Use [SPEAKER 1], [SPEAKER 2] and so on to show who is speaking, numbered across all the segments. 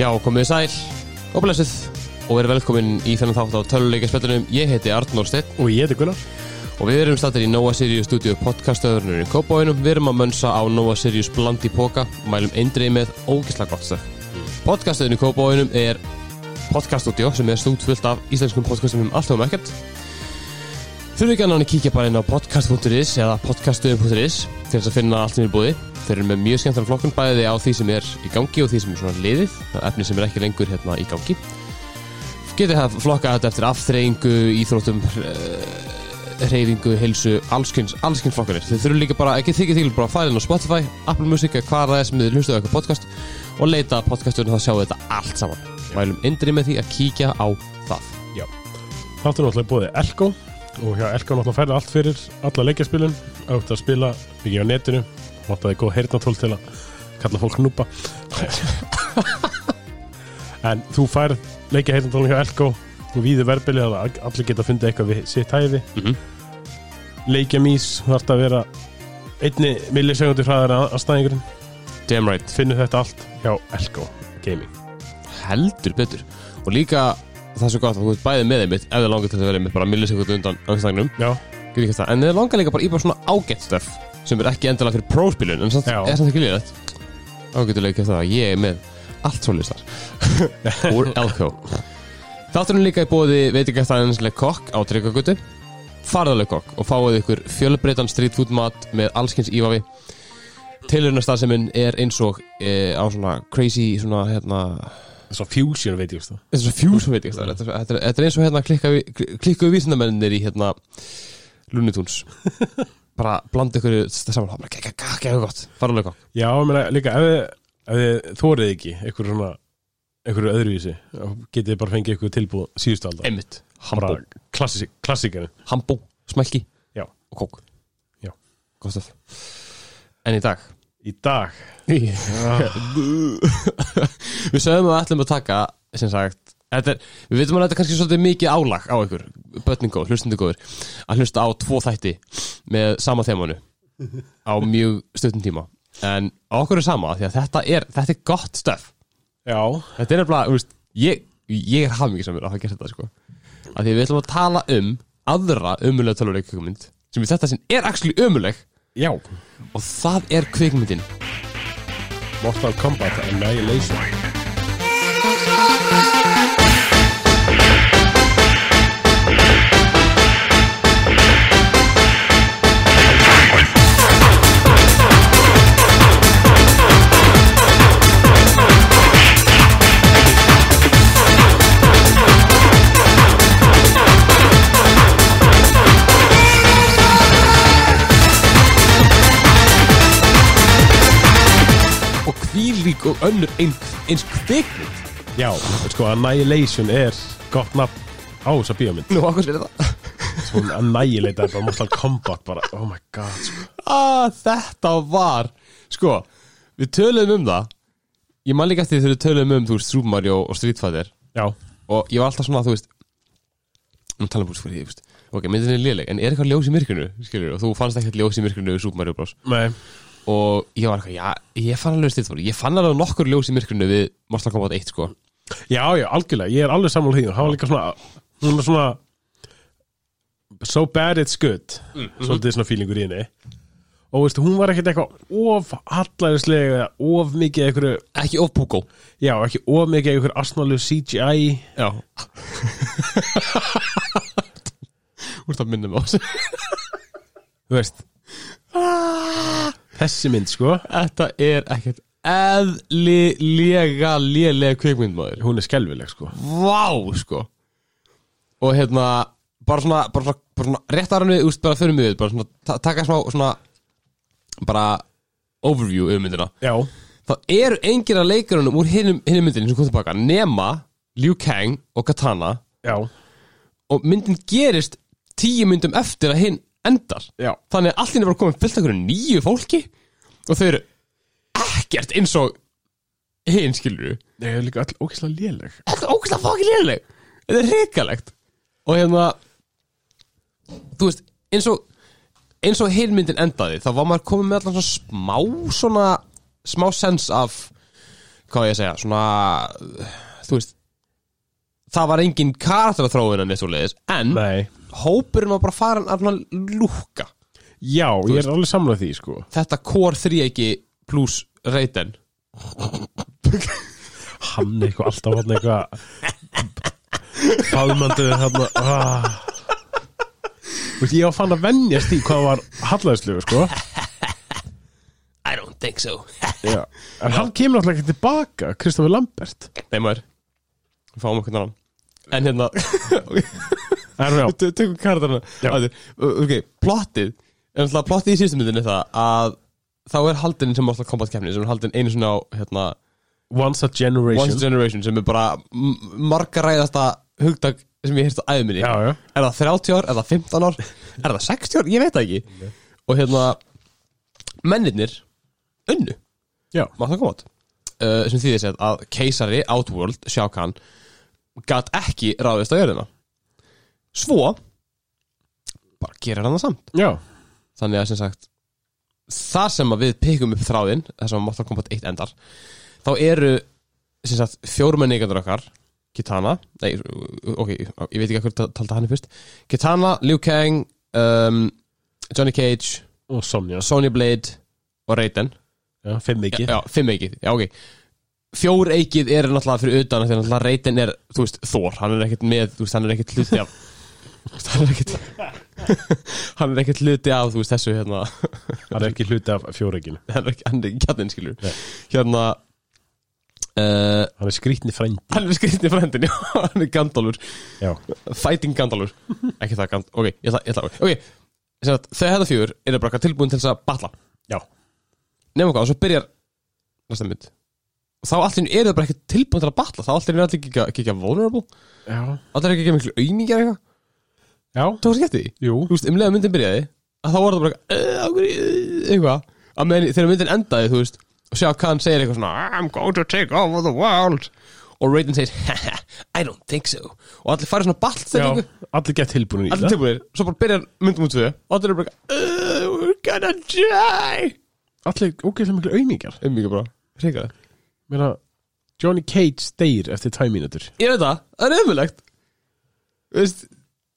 [SPEAKER 1] Já, komið sæl og blessuð og verið velkomin í þennan þátt á töluleika spjallunum. Ég heiti Arnór Steinn
[SPEAKER 2] Og ég heiti Gunnar
[SPEAKER 1] og við erum stattir í Nova Sirius stúdíu podcastöðurnir í Kópavæinum. Við erum að mönsa á Nova Sirius bland í póka og mælum eindrið með ógisla gott stöð. Podcastöðin í Kópavæinum er podcaststúdíu sem er stúdfullt af íslenskum podcastum um allt og um ekkert. Þurfið ekki að náni kíkja bara inn á podcast.is eða podcaststöðum.is til þess að finna allt sem er í búði. Þeir eru með mjög skemmtara flokkun bæði á því sem er í gangi og því sem er svona liðið, efni sem er ekki lengur hérna í gangi. Getið það flokkað þetta eftir afþreyingu, íþróttum, reyfingu, heilsu, allskynns, allskynns flokkanir. Þið þurfum líka bara, ekki þykir þykir bara að fara inn á Spotify, Apple Music eða hvað það er sem þið hlustuðu á eitthvað podcast og leita að podcastunum þá sjáu þetta allt saman. Mælum indri með því að kíkja á það.
[SPEAKER 2] Já Þáttu náttúrulega búið Elko Og hjá Elko náttúrulega færði allt fyrir Alla leikjaspilin Átt að spila Byggja á netinu Máttaði góð heyrnatól til að Kalla fólk núpa En þú færð Leikja heyrnatólun hjá Elko Og víðu verðbili að allir geta fundið eitthvað við sitt hæfi
[SPEAKER 1] Mhm.
[SPEAKER 2] Leikja mís Þú þarft að vera Einni millisegundir hraðar að staðingurinn
[SPEAKER 1] Damn right.
[SPEAKER 2] Finnur þetta allt hjá Elko Gaming
[SPEAKER 1] heldur betur og líka það er svo gott að þú ert bæðið með einmitt ef þið langar til þess að vera einmitt bara millisekund undan angstagnum
[SPEAKER 2] Já
[SPEAKER 1] en þið langar líka bara í bara svona ágætt stöf sem er ekki endilega fyrir próspilun en samt,
[SPEAKER 2] Já.
[SPEAKER 1] er samt ekki liðrætt ágættulega ekki það ég er með allt svo listar úr Elko þátturinn líka í bóði veitingastæðins Le Coq á Tryggagötu farðarleg kokk og fáið ykkur fjölbreytan street food mat með allskins ívafi tilhörnastarseminn er eins og e, á svona crazy svona hérna
[SPEAKER 2] Svo fusion veit ég veist það
[SPEAKER 1] Þetta er svo fjús, veit ég ekki þetta, er- þetta, er- þetta er eins og hérna klikka við- kli- klikkuðu vísindamennir í hérna Looney Tunes Bara blanda ykkur þetta saman Það er bara kekka, kekka, kekka, gott Farulega gott
[SPEAKER 2] Já, ég meina líka ef, þið- ef þið þórið ekki einhverju svona einhverju öðruvísi þá getið þið bara fengið einhverju tilbúð síðustu aldar
[SPEAKER 1] Einmitt
[SPEAKER 2] bara
[SPEAKER 1] Hambó,
[SPEAKER 2] klassik, klassikarinn
[SPEAKER 1] hambó, smælki
[SPEAKER 2] Já.
[SPEAKER 1] Og kók
[SPEAKER 2] Já.
[SPEAKER 1] Góð stöf En í dag
[SPEAKER 2] í dag
[SPEAKER 1] Við sögum að við ætlum að taka sem sagt Þetta er, við veitum að þetta er kannski svolítið mikið álag á ykkur Bötningóð, hlustendugóður Að hlusta á tvo þætti með sama þemanu á mjög stuttum tíma En okkur er sama því að þetta er, þetta er gott stöf
[SPEAKER 2] Já,
[SPEAKER 1] Þetta er nefnilega, þú veist, ég, ég er hafmygg samur að hafa gert þetta sko Af því að við ætlum að tala um aðra ömulega töluleik kvikmynd sem í þetta sinn er actually ömuleg
[SPEAKER 2] já
[SPEAKER 1] og það er kvikmyndin
[SPEAKER 2] Mortal Kombat Annihilation
[SPEAKER 1] og kvílík og önnur eins, eins kvikmynd
[SPEAKER 2] Já, sko Annihilation er gott nafn á þessa bíómynd
[SPEAKER 1] Nú, okkur er það
[SPEAKER 2] Svo hún annihilata bara Mortal Kombat bara, oh my god sko.
[SPEAKER 1] ah, Þetta var Sko, við töluðum um það Ég man líka eftir því þegar við töluðum um Þú veist, Super Mario og Street Fighter
[SPEAKER 2] Já,
[SPEAKER 1] Og ég var alltaf svona, þú veist Nú tala um búið, sko, ég veist Ok, myndin er léleg, en er eitthvað ljós í myrkrinu, skilur Og þú fannst ekkert ljós í myrkrinu við Super Mario Bros
[SPEAKER 2] nei,
[SPEAKER 1] Og ég var eitthvað, já, ég fann alveg Street Fighter Ég fann alveg nokkur ljós í myrkrinu við Mortal Kombat 1, sko
[SPEAKER 2] já, já, algjörlega Ég er alveg sammála því, það var líka svona hún er svona so bad it's good svolítið svona feelingur í henni og veistu, hún var ekkert eitthvað of hallæðislega eða of mikið einhverju,
[SPEAKER 1] Ekki of Pogo
[SPEAKER 2] já, ekki of mikið einhverju asnálu CGI
[SPEAKER 1] Já Þú ert að minna mig á þessu
[SPEAKER 2] þú veist þessi mynd, sko
[SPEAKER 1] Þetta er ekkert eðlilega lélega kvikmyndmaður
[SPEAKER 2] hún er skelfileg, sko
[SPEAKER 1] Vá, sko Og hérna, bara svona, bara svona, bara svona rétt ára við, úst, bara förum við bara svona, ta taka smá, svona bara overview um myndina
[SPEAKER 2] já,
[SPEAKER 1] Það eru engir að leikurunum úr hinum, hinum myndinni sem kom tilbaka nema Liu Kang og Katana
[SPEAKER 2] já,
[SPEAKER 1] og myndin gerist tíu myndum eftir að hinn endar
[SPEAKER 2] já
[SPEAKER 1] Þannig að allt inni var komin fullt af einhverju nýju fólki og þau eru ekkert eins og hinn skilur
[SPEAKER 2] Nei, það er líka all ókvæslega léleg
[SPEAKER 1] Þetta er ógæslega fokkin léleg Þetta er hrikalegt Og hérna Þú veist, eins og eins og hinn myndin endaði, þá var maður komin með allan svona smá svona smá sens af hvað á ég að segja, svona þú veist það var engin karakterþróun en þessu leiðis en
[SPEAKER 2] Nei
[SPEAKER 1] hópurinn var bara farin að svona lúka
[SPEAKER 2] Já, ég er alveg samlega því, sko
[SPEAKER 1] þetta core 3 ekki pluss Raiden
[SPEAKER 2] Hann eitthvað alltaf hann eitthvað Faðmandi hann ah. Þú veist, ég var fann að venjast í hvað var hallæðislega, sko
[SPEAKER 1] I don't think so
[SPEAKER 2] Já. En hann kemur alltaf ekki tilbaka Kristofur Lambert
[SPEAKER 1] Nei maður, við fáum okkur annan En hérna,
[SPEAKER 2] En já,
[SPEAKER 1] Tö- tökum karakterna
[SPEAKER 2] Já.
[SPEAKER 1] Aftur. Ok, plottið En alltaf plottið í síðustu myndinni er það að þá er haldin sem alltaf kombat kemni sem er haldin einu svona á hérna,
[SPEAKER 2] Once a Generation
[SPEAKER 1] Once Generation sem er bara m- margaræðasta hugtak sem ég heyrst á æðminni
[SPEAKER 2] Já, já.
[SPEAKER 1] Er það 30 ár, er það 15 ár Er það 60 ár, ég veit það ekki Og hérna mennirnir unnu
[SPEAKER 2] Já,
[SPEAKER 1] Mortal Kombat uh, sem þýðir sér að keisari Outworld, Shao Kahn gat ekki ráðist á jörðina svo bara gerir hann það samt
[SPEAKER 2] já,
[SPEAKER 1] þannig að sem sagt þar sem að við pikkum upp þráðinn þar sem að Mortal Kombat 1 endar þá eru sem sagt fjórmenningandur okkar Kitana nei, ok, ég veit ekki að hverju talda hann fyrst Kitana, Liu Kang um, Johnny Cage,
[SPEAKER 2] og Sonja
[SPEAKER 1] Sonya Blade og Raiden
[SPEAKER 2] já, Fimm ekki
[SPEAKER 1] Já, já, fimm eikið, já ok Fjór eikið er náttúrulega fyrir utan Þannig að náttúrulega reytin er, þú veist, Þór Hann er ekkert með, þú veist, hann er ekkert hluti af þú veist, Hann er ekkert Hann er ekkert hluti af, þú veist, þessu hérna
[SPEAKER 2] Það er ekki hluti af fjóreikinu
[SPEAKER 1] Hann er ekki, hann er ekki gætinn, skilur
[SPEAKER 2] Nei.
[SPEAKER 1] Hérna uh,
[SPEAKER 2] Hann er skrýtni frænd
[SPEAKER 1] Hann er skriðin í frændin, já, hann er Gandalfur
[SPEAKER 2] Já,
[SPEAKER 1] Fighting Gandalfur Ekki það, Gandalfur, ok, ég ætla, ég ætla, ok Sem sagt, Þau hefða fjör, eru bara tilbúin til þess að batla
[SPEAKER 2] já,
[SPEAKER 1] nefnum hvað, og svo byrjar næsta mynd og þá allir eru það bara ekki tilbúin til að batla þá allir eru allir ekki ekki ekki vulnerable
[SPEAKER 2] já,
[SPEAKER 1] allir eru ekki ekki miklu auðmingjar eitthvað
[SPEAKER 2] já
[SPEAKER 1] tók þess getið
[SPEAKER 2] Jú,
[SPEAKER 1] þú veist, um leiða myndin byrjaði að þá var það bara eitthvað, "Eh, af hverju, eh," eitthvað að meðan þegar myndin endaði, þú veist og sjá hvað hann segir eitthvað svona "Ah, I'm going to take over the world og Raiden segir, haha, I don't think so og allir farið svona
[SPEAKER 2] já,
[SPEAKER 1] ball
[SPEAKER 2] allir gett tilbúinu í
[SPEAKER 1] allir
[SPEAKER 2] það
[SPEAKER 1] tilbúinir, svo bara byrjar myndum út við og allir eru bara, "Eh, we're gonna die
[SPEAKER 2] Allir ógeðlega miklu auðmingar
[SPEAKER 1] auðmingjar bara, hreikar
[SPEAKER 2] Meina, Johnny Cage deyr eftir tæmínútur
[SPEAKER 1] Ég veit það, það er ömulegt Veist,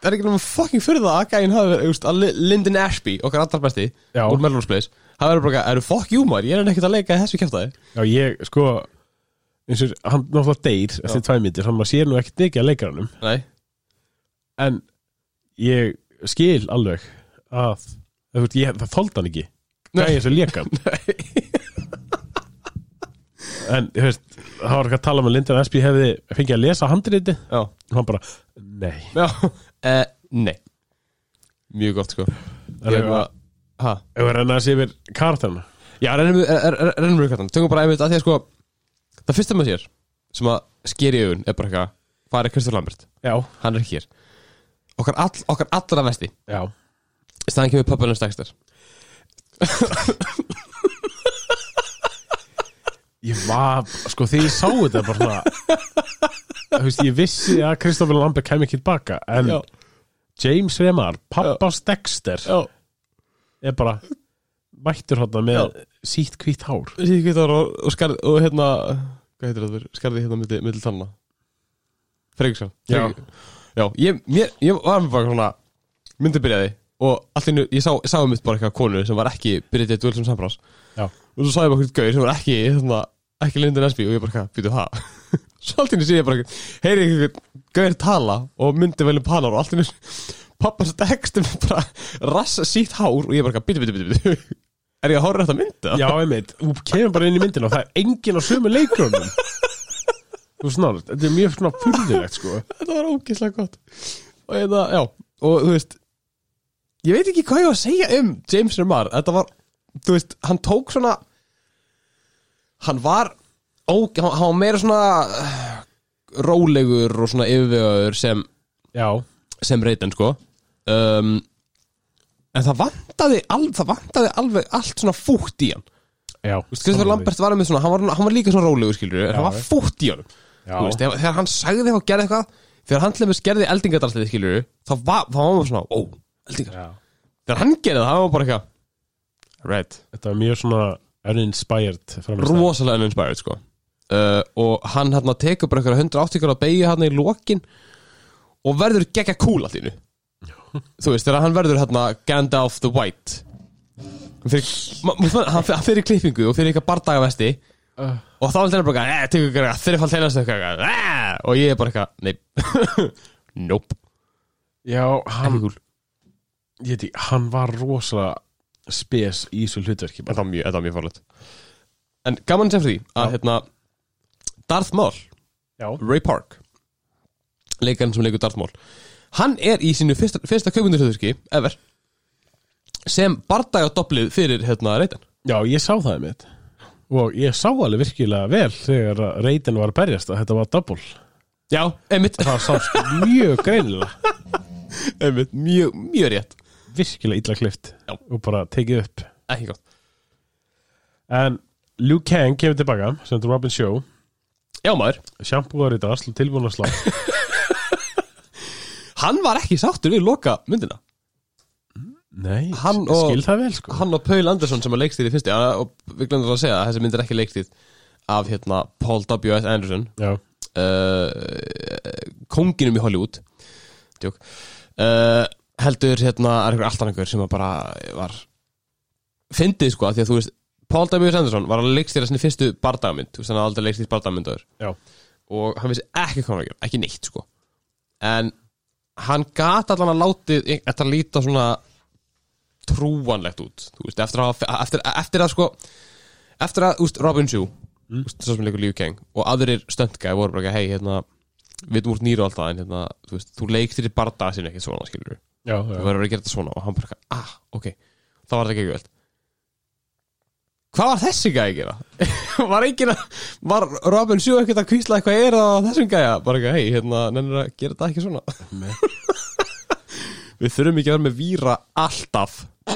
[SPEAKER 1] það er ekki náttúrulega fucking fyrir það að gæinn hafi, þú veist, að Li- Lyndon Ashby, okkar allar besti,
[SPEAKER 2] Já.
[SPEAKER 1] úr Melrose Place hafi verið bara, eitthvað, eru fuck you maður, ég er ekkert að leika í þessu kjæftæði
[SPEAKER 2] Já, ég, sko eins og hann náttúrulega deyr eftir tæmínútur hann maður sér nú ekkert mikið að leikaranum
[SPEAKER 1] Nei,
[SPEAKER 2] en ég skil alveg að það, veist, ég, það þoldi hann ekki
[SPEAKER 1] Nei.
[SPEAKER 2] gæði þess að leka en þú veist, það var eitthvað að tala um að Lindan Espí hefði fengið að lesa handriti
[SPEAKER 1] já,
[SPEAKER 2] og hann bara, nei
[SPEAKER 1] já uh, Nei Mjög gott, sko
[SPEAKER 2] Það er eitthvað-
[SPEAKER 1] Hæ?
[SPEAKER 2] ef við reyna að sé yfir karakterna
[SPEAKER 1] Já, rennum við- er- er- rennum við kattan Tökum bara einmitt að því að sko Það fyrsta maður sér, sem að sker í augun er bara eitthvað, hvað er Kristofur Lambert?
[SPEAKER 2] já,
[SPEAKER 1] Hann er ekki hér Okkar, all, okkar allra vesti
[SPEAKER 2] já,
[SPEAKER 1] Stæðan kemur pöppunum stækstar
[SPEAKER 2] ég var sko þegar ég sá þetta bara svona þú veist, ég vissi að Kristoffer Lambert kemur ekki tilbaka en
[SPEAKER 1] Já.
[SPEAKER 2] James Remar, pappas Dexter
[SPEAKER 1] Já
[SPEAKER 2] er bara mættur hann með
[SPEAKER 1] Já.
[SPEAKER 2] sítt hvítt hár
[SPEAKER 1] Síkvítar og, og skarð og hérna hvað heitir það verið, skarði hérna milli, milli tanna Freiksson
[SPEAKER 2] Já.
[SPEAKER 1] Já, ég, mér, ég var mér bara svona myndi byrjaði og allt innu, ég sá, sá um mitt bara eitthvað konu sem var ekki byrjaði að duel sem sambrás
[SPEAKER 2] já
[SPEAKER 1] og svo sá ég bara eitthvað gauð sem var ekki hérna, ekki Lindin Esby og ég bara hvað, býtu það svo allt innu sé ég bara eitthvað, heyri eitthvað gauðir tala og myndi velum panar og allt innu pappans dekstum bara rassa sítt hár og ég bara eitthvað, býtu, býtu, býtu, býtu er ég að horfa þetta mynda?
[SPEAKER 2] Já, einmitt, þú kemur bara inn í myndina og það er enginn á sömu leikrunum Þú snáður, þetta er mjög svona furðilegt sko
[SPEAKER 1] þetta var ógeðslega gott og þetta, já, og þú veist ég veit ekki hvað ég var að segja um James Remar, þetta var þú veist, hann tók svona hann var ó, hann, hann var meira svona eh, rólegur og svona yfirvegaður sem,
[SPEAKER 2] Já,
[SPEAKER 1] sem reytin sko um, en það vantaði, al, það vantaði alveg allt svona fútt í hann
[SPEAKER 2] já
[SPEAKER 1] Kristoffer Lambert var með svona, hann var, hann var líka svona rólegur skilur, en hann var fútt í hann
[SPEAKER 2] Já,
[SPEAKER 1] Þú veist, þegar, þegar hann sagði eitthvað og gerði eitthvað þegar hann til dæmis gerði eldingardarsliði skilur þá var, þá var maður svona, ó, eldingar
[SPEAKER 2] já.
[SPEAKER 1] þegar hann gerði það, það var bara eitthvað right,
[SPEAKER 2] Þetta var mjög svona uninspired framist
[SPEAKER 1] rosalega uninspired sko uh, og hann hérna tekur bara einhverja 180 gráða beigju hérna í lokin og verður geggja kúl allt í nu þú veist, þegar hann verður hérna Gandalf the White hann fyrir, ma- ma- hann fyrir, hann fyrir klippingu og fyrir eitthvað bardagavesti og þá er hann bara eitthvað, eh, tekur eitthvað þreifald heilast eitthvað, eh, og ég er bara eitthvað nei, nope
[SPEAKER 2] Já, hann,
[SPEAKER 1] ekki kúl,
[SPEAKER 2] ég veit, ekki, hann var rosalega spes í þessu hlutverki
[SPEAKER 1] en
[SPEAKER 2] bara.
[SPEAKER 1] það var mjög, þetta var mjög farlegt en gaman sem fyrir því að hérna Darth Maul
[SPEAKER 2] Já,
[SPEAKER 1] Ray Park leikarinn sem leikur Darth Maul hann er í sínu fyrsta, fyrsta kökmyndurhjóðurki ever sem barndagadoblið fyrir hérna reytan
[SPEAKER 2] já ég sá það mitt og ég sá alveg virkilega vel þegar reytin var að berjast að þetta var double
[SPEAKER 1] já, einmitt,
[SPEAKER 2] það sást mjög greinilega
[SPEAKER 1] einmitt mjög, mjög rétt,
[SPEAKER 2] virkilega illa klift
[SPEAKER 1] Já.
[SPEAKER 2] og bara tekið upp
[SPEAKER 1] ekki gott
[SPEAKER 2] en Liu Kang kemur tilbaka sem þetta Robin Show
[SPEAKER 1] já maður,
[SPEAKER 2] sjambúðar í drasl tilbúin að slá
[SPEAKER 1] hann var ekki sáttur við loka myndina
[SPEAKER 2] Nei,
[SPEAKER 1] Hann
[SPEAKER 2] ég
[SPEAKER 1] og-
[SPEAKER 2] skil það vel sko
[SPEAKER 1] hann og Paul Anderson sem er leikstýri fyrsti hann- og við glemum það að segja að þessi mynd er ekki leikstýr af hérna Paul W.S. Anderson
[SPEAKER 2] Já,
[SPEAKER 1] uh, konginum í Hollywood Djók. uh, heldur hérna er einhver alltaf einhver sem að bara var fyndið sko af því að þú veist Paul W. Sanderson var að leikstýra sinni fyrstu bardagamynd þú veist hann hafði aldrei leikstýrt bardagamyndaður
[SPEAKER 2] já,
[SPEAKER 1] og hann vissi ekki hvað hann var að gera ekki neitt sko en hann gat allan að láti þetta að líta svona trúanlegt út þú veist, eftir að, hafa- eftir, eftir að sko eftir að, úst, Robin Shue mm. úst, svo sem leikur Liu Kang og aðrir stöndgæði voru bara ekki, hei, hérna við erum úr nýru alltaf, en hérna, þú veist þú leiktir í bardaða sinni ekkert svona, skilur við
[SPEAKER 2] já,
[SPEAKER 1] þú
[SPEAKER 2] já.
[SPEAKER 1] verður að gera þetta svona og hann bara, ah, ok þá var þetta ekki ekki vel hvað var þessi gæði að gera? var engin að, var Robin Sjú ekkert að kvísla eitthvað er að þessum gæja bara eitthvað, hei, hérna, nennir að gera þetta ekki
[SPEAKER 2] Nei.
[SPEAKER 1] svona við þurfum ekki að vera með víra alltaf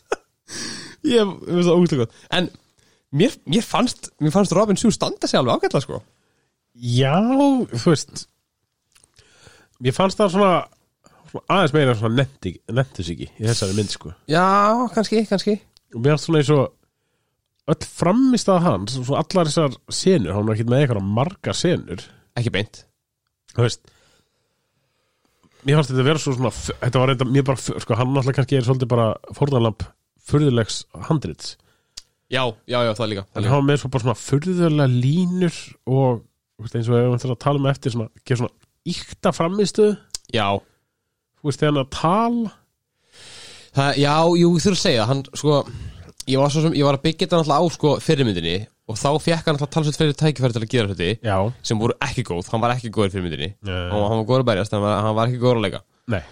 [SPEAKER 1] ég, ég veist það ógustlega gott en mér, mér fannst mér fannst Robin Sjú standa sig alveg ágætlega sko
[SPEAKER 2] já, þú veist Ég fannst það svona, svona aðeins meira svona nefndi, nefndi sig ekki í þessari mynd sko
[SPEAKER 1] já, kannski, kannski
[SPEAKER 2] og mér fannst svona eins og öll framist að hans og svona allar þessar senur, hann var ekki með eitthvað marga senur
[SPEAKER 1] ekki beint
[SPEAKER 2] þú veist Mér fannst þetta vera svo svona þetta var reynda mjög bara, sko, hann náttúrulega kannski er svolítið bara fórðanlamp furðulegs handrits
[SPEAKER 1] já, já, já, það líka, það
[SPEAKER 2] en
[SPEAKER 1] líka.
[SPEAKER 2] hann var með svo bara svona furðulega línur og þú veist, eins og ef hann þarf að tala um eftir svona, gera svona íkta framistu þú
[SPEAKER 1] já,
[SPEAKER 2] veist, þegar hann er að tala
[SPEAKER 1] Það, já, jú, þú þurfum að segja það, hann, sko, ég var, svo sem, ég var að byggja þetta náttúrulega á sko, fyrirmyndinni og þá fekk hann náttúrulega talsveit fyrir tækifæri til að gera hluti
[SPEAKER 2] já,
[SPEAKER 1] sem voru ekki góð, hann var ekki góður í fyrirmyndinni
[SPEAKER 2] Nei.
[SPEAKER 1] og hann var góður að berjast, hann var, hann var ekki góður að leika
[SPEAKER 2] nei,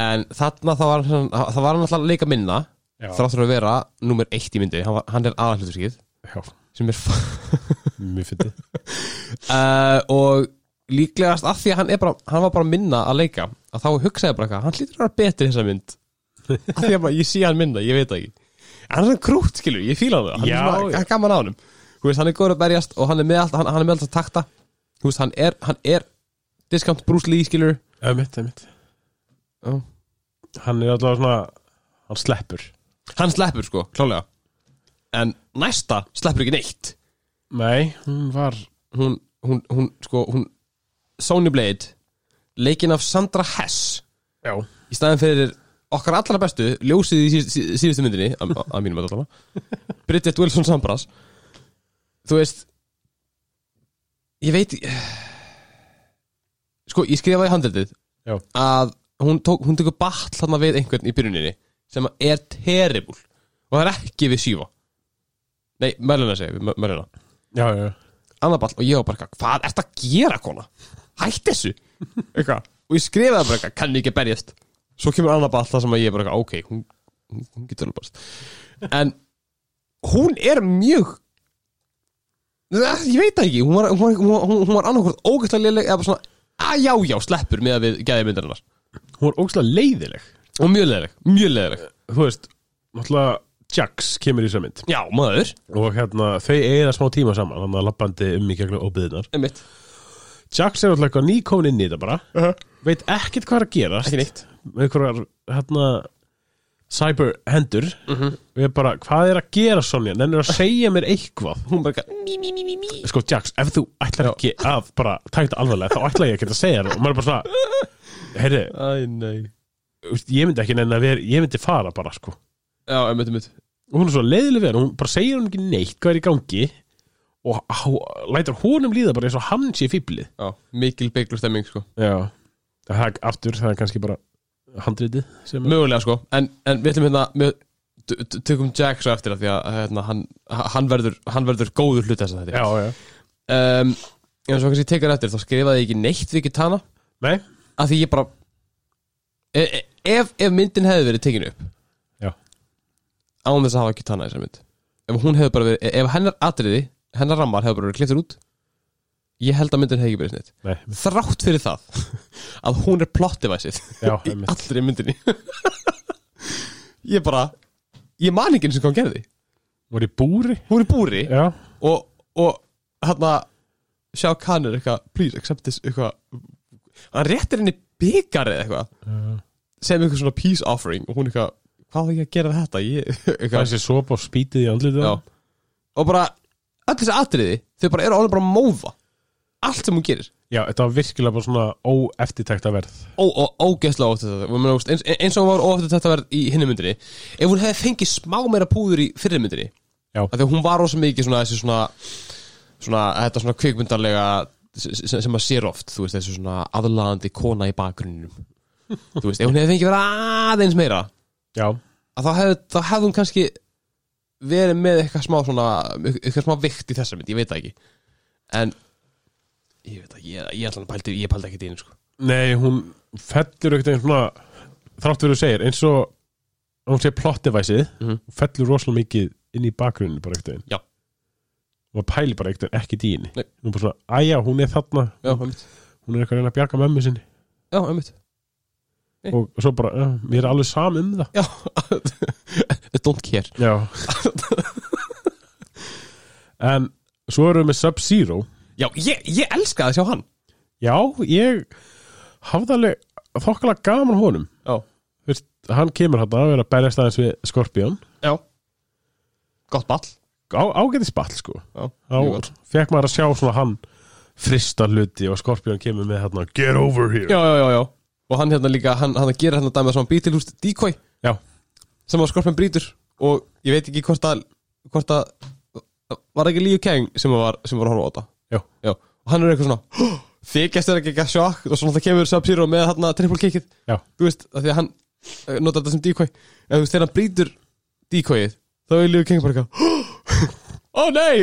[SPEAKER 1] en þarna þá var hann, það var hann alltaf að leika minna
[SPEAKER 2] Já.
[SPEAKER 1] þráttur að vera nummer eitt í myndinni, hann, var, hann er aðalhluturskið
[SPEAKER 2] já,
[SPEAKER 1] sem er
[SPEAKER 2] mjög fyndið
[SPEAKER 1] uh, og líklegast af því að hann, er bara, hann var bara minna að leika að þá hugsaði ég bara eitthvað, hann hlýtur að vera betri í þessa mynd af því að bara, ég sé hann minna, ég veit það ekki en hann er svona krútt, skilur, ég fíla hann það hann
[SPEAKER 2] Já,
[SPEAKER 1] er svona,
[SPEAKER 2] já.
[SPEAKER 1] hann er gaman á honum Þú veist, hann er góður að berjast og hann er með alltaf, hann, hann er með alltaf takta Þú veist, hann er, hann er discount Bruce Lee, skilur
[SPEAKER 2] ömmitt, ömmitt
[SPEAKER 1] Já.
[SPEAKER 2] hann er alltaf svona hann sleppur
[SPEAKER 1] hann sleppur, sko, klálega en næsta sleppur ekki neitt
[SPEAKER 2] nei, hún var
[SPEAKER 1] hún, hún, hún, sko, hún Sony Blade, leikinn af Sandra Hess
[SPEAKER 2] já,
[SPEAKER 1] í staðin fyrir okkar allra bestu ljósið í síð, síð, síðustu myndinni að að mínum að allavega Bridget Wilson Sambras þú veist ég veit sko, ég skrifaði í handritið
[SPEAKER 2] já,
[SPEAKER 1] að hún tók, hún tekur batl þarna við einhvern í byrjuninni sem er terrible og það er ekki við sífa nei, mörluna segi við, mörluna
[SPEAKER 2] já, já,
[SPEAKER 1] annar ball og ég var bara eitthvað, hvað ert að gera kona? Hætt þessu eitthvað, og ég skrifaði bara eitthvað, kann ekki berjast svo kemur annar ball það sem að ég er bara eitthvað, ok, hún, hún, hún getur alveg berjast en hún er mjög Eh, ég veit það ekki, hún var, hún var, hún var, hún- hún var annarkvort ógæslega léleg eða bara svona, að já, já, sleppur með að við gæði myndarinnar
[SPEAKER 2] hún var ógstlega leiðileg
[SPEAKER 1] og mjög leðileg, mjög leðileg
[SPEAKER 2] þú veist, náttúrulega Jax kemur í þessari mynd
[SPEAKER 1] já, maður,
[SPEAKER 2] og hérna, þau eigða smá tíma saman hann að lappandi um í gegnum óbyðinar
[SPEAKER 1] einmitt
[SPEAKER 2] Jax er alltaf eitthvað nýkomin inn í þetta bara
[SPEAKER 1] uh -huh.
[SPEAKER 2] veit ekkert hvað er að gerast
[SPEAKER 1] ekki neitt
[SPEAKER 2] með einhverjar hérna cyber hendur við erum bara, hvað er að gera Sonja nennir að segja mér eitthvað hún bara, eitthvað, mí, mí, mí, mí, mí sko Jax, ef þú ætlar ekki að bara taka þetta alvarlega, þá ætla ég ekki að segja það og maður er bara svona, heyrðu
[SPEAKER 1] Æ, nei
[SPEAKER 2] þú veist, ég myndi ekki nenni að vera, ég myndi fara bara sko,
[SPEAKER 1] Já, einmitt, einmitt
[SPEAKER 2] og hún er svo leiðileg verið hún bara segir hún ekki neitt hvað er í gangi og há- lætur honum líða bara eins og hann sé fýblið
[SPEAKER 1] Já, mikil beiglu stemming, sko
[SPEAKER 2] já, það er aftur, það er kannski bara handritið sem
[SPEAKER 1] Mögulega, sko En, en við ætlum hérna við t- t- Tökum Jack svo eftir að því að hérna, hann, hann, verður, hann verður góður hluta þess að þetta
[SPEAKER 2] já, já,
[SPEAKER 1] um, En svo kannski tekar eftir Þá skrifaði ég ekki neitt við Kitana
[SPEAKER 2] nei,
[SPEAKER 1] Af því ég bara e- e- Ef, ef myndin hefði verið tekin upp
[SPEAKER 2] já
[SPEAKER 1] Án þess að hafa Kitana í þessari mynd Ef hún hefði bara verið e, Ef hennar atriði, hennar rammar hefði bara verið kliftur út Ég held að myndin hefði ekki verið snitt
[SPEAKER 2] Nei,
[SPEAKER 1] Þrátt fyrir það Að hún er plottivæsið
[SPEAKER 2] já,
[SPEAKER 1] í
[SPEAKER 2] einmitt.
[SPEAKER 1] allri myndinni ég bara ég man ekki eins og hvað hún gerði
[SPEAKER 2] voru í búri
[SPEAKER 1] hún er í búri
[SPEAKER 2] Já,
[SPEAKER 1] og, og hérna sjá kannur eitthvað please accept this eitthvað hann réttir henni byggar eða eitthvað sem eitthvað svona peace offering og hún eitthvað hvað er ég að gera við þetta ég,
[SPEAKER 2] það er
[SPEAKER 1] eitthvað
[SPEAKER 2] sér sopa og spítið í andlitið
[SPEAKER 1] Já.
[SPEAKER 2] á.
[SPEAKER 1] og bara öll þessi atriði þau bara eru alveg bara að móða allt sem hún gerir
[SPEAKER 2] Já, þetta var virkilega bara svona óeftitekta verð
[SPEAKER 1] ó, ó, ógeðslega ótt þetta Ég meina, þú veist, eins, eins og hún var ótt þetta verð í hinni myndinni ef hún hefði fengið smá meira púður í fyrir myndinni
[SPEAKER 2] Já.
[SPEAKER 1] af því að hún var rosa mikið svona þessi svona, svona þetta svona kvikmyndarlega sem, sem maður sér oft þú veist þessi svona aðlaðandi kona í bakgrunninum þú veist, ef hún hefði fengið verið aðeins meira
[SPEAKER 2] Já,
[SPEAKER 1] að þá hefði, þá hefði hún kannski verið með eitthvað smá svona eitthvað smá vikt í þessa mynd, ég veit það ekki en ég veit það, ég, ég ætla hann pældi ég pældi ekki dýrin sko
[SPEAKER 2] nei, hún fellur ekkert einn svona þrátt verið þú segir, eins og hún sé plottivæsið,
[SPEAKER 1] Mhm.
[SPEAKER 2] fellur rosalega mikið inn í bakgrunni bara ekkert einn
[SPEAKER 1] Já.
[SPEAKER 2] Og maður pæli bara ekkert einn ekki dýni
[SPEAKER 1] Nei.
[SPEAKER 2] Hún er bara svona, æja, hún er þarna
[SPEAKER 1] já, einmitt,
[SPEAKER 2] Hún er eitthvað að reyna að bjarga mömmu sinni
[SPEAKER 1] já, einmitt. Nei.
[SPEAKER 2] Og svo bara, já, mér er alveg sam um það
[SPEAKER 1] Já Don't care
[SPEAKER 2] Já En svo erum við með Sub-Zero
[SPEAKER 1] Já, ég, ég elska að sjá hann
[SPEAKER 2] Já, ég hafði alveg þokkala gaman honum
[SPEAKER 1] Já,
[SPEAKER 2] Vist, Hann kemur hann að vera að berjast aðeins við Skorpjón
[SPEAKER 1] já Gott ball
[SPEAKER 2] á, Ágæti spall sko
[SPEAKER 1] Já,
[SPEAKER 2] Á,
[SPEAKER 1] mjög gott.
[SPEAKER 2] Fekk maður að sjá svona hann frista hluti og Skorpjón kemur með hann Get over here
[SPEAKER 1] já, já, já, já Og hann hérna líka, hann, hann gerir hérna dæmið svona bítilhúst Decoy
[SPEAKER 2] Já.
[SPEAKER 1] Sem að skorpin brýtur Og ég veit ekki hvort að Hvort að Var ekki Liu Kang sem að var, sem var að horfa á þetta
[SPEAKER 2] Já.
[SPEAKER 1] Já Og hann er eitthvað svona "Hó, Þykjast er ekki ekki að sjokk Og svona það kemur Sub-Zero með hérna triple kickið
[SPEAKER 2] Já.
[SPEAKER 1] Þú veist, af því að hann eh, Notar þetta sem decoy En þú veist, þegar hann brýtur decoyið Þá er Liu Kang bara eitthvað "Hó, Ó nei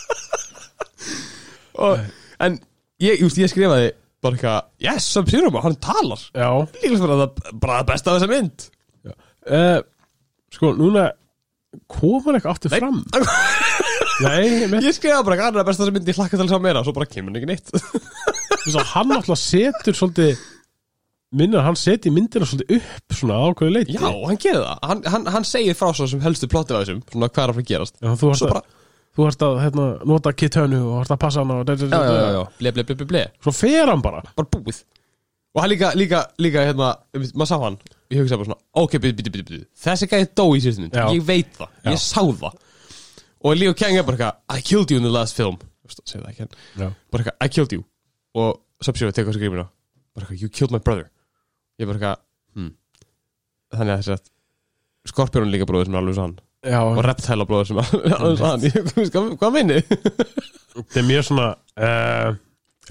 [SPEAKER 1] og, En ég, just, ég skrifaði bara eitthvað Yes, Sub-Zero, maður, hann talar
[SPEAKER 2] Já,
[SPEAKER 1] Líkast bara það bara það besta af þessa mynd
[SPEAKER 2] Eh, Sko, núna kom hann eitthvað aftur fram Nei, með
[SPEAKER 1] Ég skrifaði bara hann er það besta af þessa mynd Ég hlakka til að sjá meira Svo bara kemur hann ekki neitt
[SPEAKER 2] þess að hann alltaf setur svolítið minnir að hann seti myndina svolítið upp svona ákveðu leiti
[SPEAKER 1] Já, hann gerir það Hann, hann, hann segir frá svo sem helstu plottið af þessum Svona hvað er að fara að gerast
[SPEAKER 2] þú varst
[SPEAKER 1] Svo
[SPEAKER 2] að,
[SPEAKER 1] bara
[SPEAKER 2] þú varst að hérna, nota kittönu og varst að passa hann og da, da, da, da.
[SPEAKER 1] Ble, ble, ble, ble, ble
[SPEAKER 2] svo fer hann bara
[SPEAKER 1] Bara búið Og hann líka, líka, líka hérna einmitt, Maður sá hann Ég hugsaði bara svona Ok, byrju, byrju, byrju, byrju Þessi gæði dó í sérstu mynd
[SPEAKER 2] Já.
[SPEAKER 1] Ég veit það
[SPEAKER 2] Já.
[SPEAKER 1] Ég sá það Og Leo Kang er bara eitthvað I killed you in the last film Segðu það ekki hann
[SPEAKER 2] já.
[SPEAKER 1] bara eitthvað, I killed you og Sub-Zero tekur þessu grímina bara eitthvað, you killed my brother ég bara eitthvað, hmm þannig að þess að Skorpjón er líka bróður sem er alveg sann
[SPEAKER 2] Já,
[SPEAKER 1] og Reptile bróður sem er alveg sann Ég- þú veist, hvað, hvað minni?
[SPEAKER 2] þetta er mjög svona uh,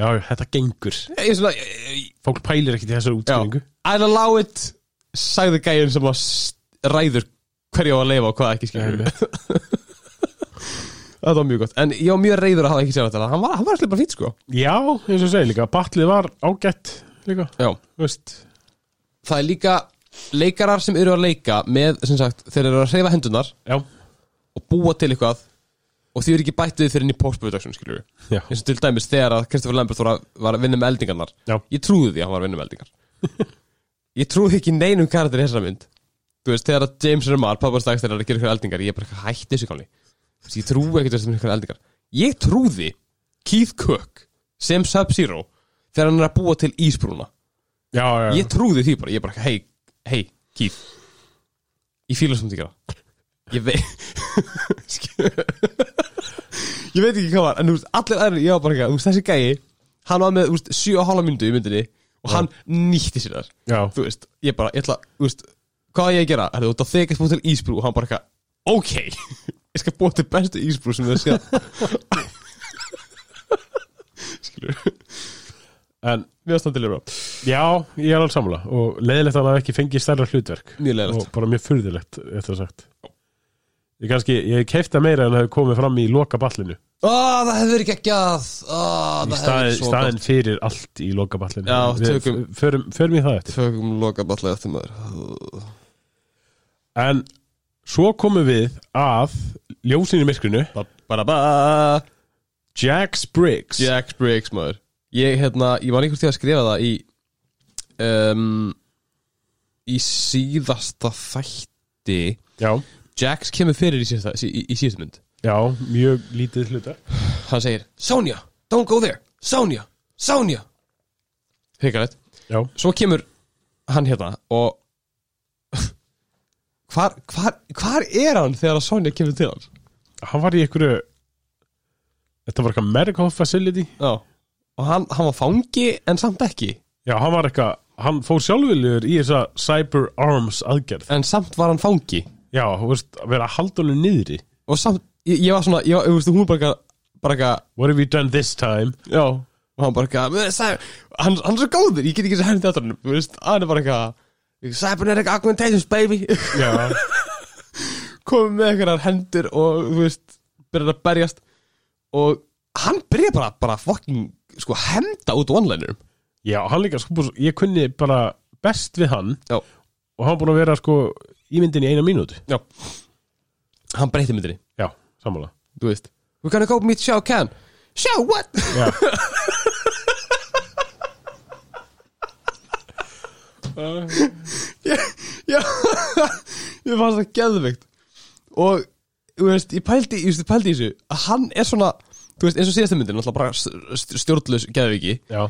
[SPEAKER 2] já, þetta gengur
[SPEAKER 1] ég er svona, eh,
[SPEAKER 2] fólk pælir ekkert í þessar
[SPEAKER 1] já
[SPEAKER 2] útskjöningu
[SPEAKER 1] I'll allow it sagði gæinn sem að s- ræður hverju á að leifa og hvað ekki skilur þetta var mjög gott, en ég var mjög reyður að hafa ekki sér þetta hann var, hann var allir bara fýtt sko
[SPEAKER 2] já, eins og ég segi líka, batlið var ágætt líka,
[SPEAKER 1] já.
[SPEAKER 2] þú veist
[SPEAKER 1] það er líka leikarar sem eru að leika með, sem sagt, þeir eru að hreyfa hendunar
[SPEAKER 2] já,
[SPEAKER 1] og búa til eitthvað og því er ekki bætt við fyrir inn í post-production skiljur við
[SPEAKER 2] já,
[SPEAKER 1] eins og til dæmis þegar að Kristoffer Lambert var að, var að vinna með eldingarnar
[SPEAKER 2] já,
[SPEAKER 1] ég trúði því að hann var að vinna með eldingar ég trúði ekki neinum karakter í þessari mynd þú veist, þegar að James Remar pappar stakst þegar er að gera eitthvað eldingar ég er bara hætti þessu kanni ég trúi ekki þessum eitthvað eldingar ég trúði Keith Cook sem Sub-Zero þegar hann er að búa til ísbrúna
[SPEAKER 2] já, já,
[SPEAKER 1] ég trúði því bara, ég bara, hei, hei Keith Ég fíla samt ekki það Ég veit Skil- Ég veit ekki hvað var En þú veist, allir aðrir, ég var bara ekki að, þú veist, Þessi gæi, hann var með þú veist, 7 og hálfa myndu í myndinni Og hann nýtti sér þar
[SPEAKER 2] Já,
[SPEAKER 1] Þú veist, ég bara, ég ætla, þú veist Hvað á ég að gera? Það er út að þekast búið til ísbrú Og hann bara ekki ok Ég skal búið til bestu ísbrú sem þau séð Skilur
[SPEAKER 2] en
[SPEAKER 1] Mér var standilega bra
[SPEAKER 2] já, ég er alveg samla og leiðilegt að hann hafi ekki fengið stærra hlutverk
[SPEAKER 1] Mjög leiðilegt.
[SPEAKER 2] og bara mjög furðilegt, eftir að sagt ég kannski, ég keifta meira en hefði komið fram í loka ballinu
[SPEAKER 1] Ó, það hefur verið geggjað Ó, það
[SPEAKER 2] í
[SPEAKER 1] hefur
[SPEAKER 2] stað,
[SPEAKER 1] verið svo gott
[SPEAKER 2] staðin fyrir allt í loka ballinu
[SPEAKER 1] Já,
[SPEAKER 2] Við
[SPEAKER 1] tökum-
[SPEAKER 2] f- förum, förum í það eftir
[SPEAKER 1] Tökum loka ballið eftir maður
[SPEAKER 2] en svo komum við að ljósinu í myrkrinu
[SPEAKER 1] ba, ba, ba.
[SPEAKER 2] Jack Spriggs
[SPEAKER 1] Jack Briggs maður Ég hérna, ég var einhvers tíð að skrifa það í um, Í síðasta þætti
[SPEAKER 2] já,
[SPEAKER 1] Jax kemur fyrir í síðasta, í, í síðasta mynd
[SPEAKER 2] já, mjög lítið hluta
[SPEAKER 1] Hann segir Sonja, don't go there Sonja, Sonja Hrikalegt
[SPEAKER 2] já,
[SPEAKER 1] Svo kemur hann hérna og Hvar, hvar, hvar er hann þegar að Sonja kemur til hans?
[SPEAKER 2] hann var í einhverju þetta var eitthvað medical facility
[SPEAKER 1] Já Og hann, hann var fangi en samt ekki
[SPEAKER 2] já, hann var eitthvað, hann fór sjálfviljur í þessa cyber arms aðgerð
[SPEAKER 1] En samt var hann fangi
[SPEAKER 2] já, þú veist, að vera að halda honum niðri
[SPEAKER 1] Og samt, ég, ég var svona, ég, var- ég veist, hún bara eitthvað- bara eitthvað
[SPEAKER 2] what have you done this time
[SPEAKER 1] Já Og hann bara eitthvað "Með cy- hann, hann er svo góður, ég get ekki sér henni þetta Þú veist, hann er bara eitthvað Cybernetic augmentations baby
[SPEAKER 2] já,
[SPEAKER 1] Komið með eitthvað hendur og þú veist Byrjar að berjast Og hann byrjar bara, bara fucking Sko, henda út one-liner
[SPEAKER 2] já hann líka, sko, bara svo- ég kunni bara best við hann
[SPEAKER 1] Já,
[SPEAKER 2] og hann búin að vera sko ímyndin í eina mínútu
[SPEAKER 1] já Hann breyti myndinni,
[SPEAKER 2] já, sammála
[SPEAKER 1] þú veist We're gonna go meet Shao Kahn Shao what?
[SPEAKER 2] já
[SPEAKER 1] Já, ég fannst það geðveikt Og, þú veist, ég pældi, ég veist, ég pældi í þessu Að hann er svona, þú veist, eins og síðasta myndin Náttúrulega bara st- st- stjórnlaus geðveiki
[SPEAKER 2] Já,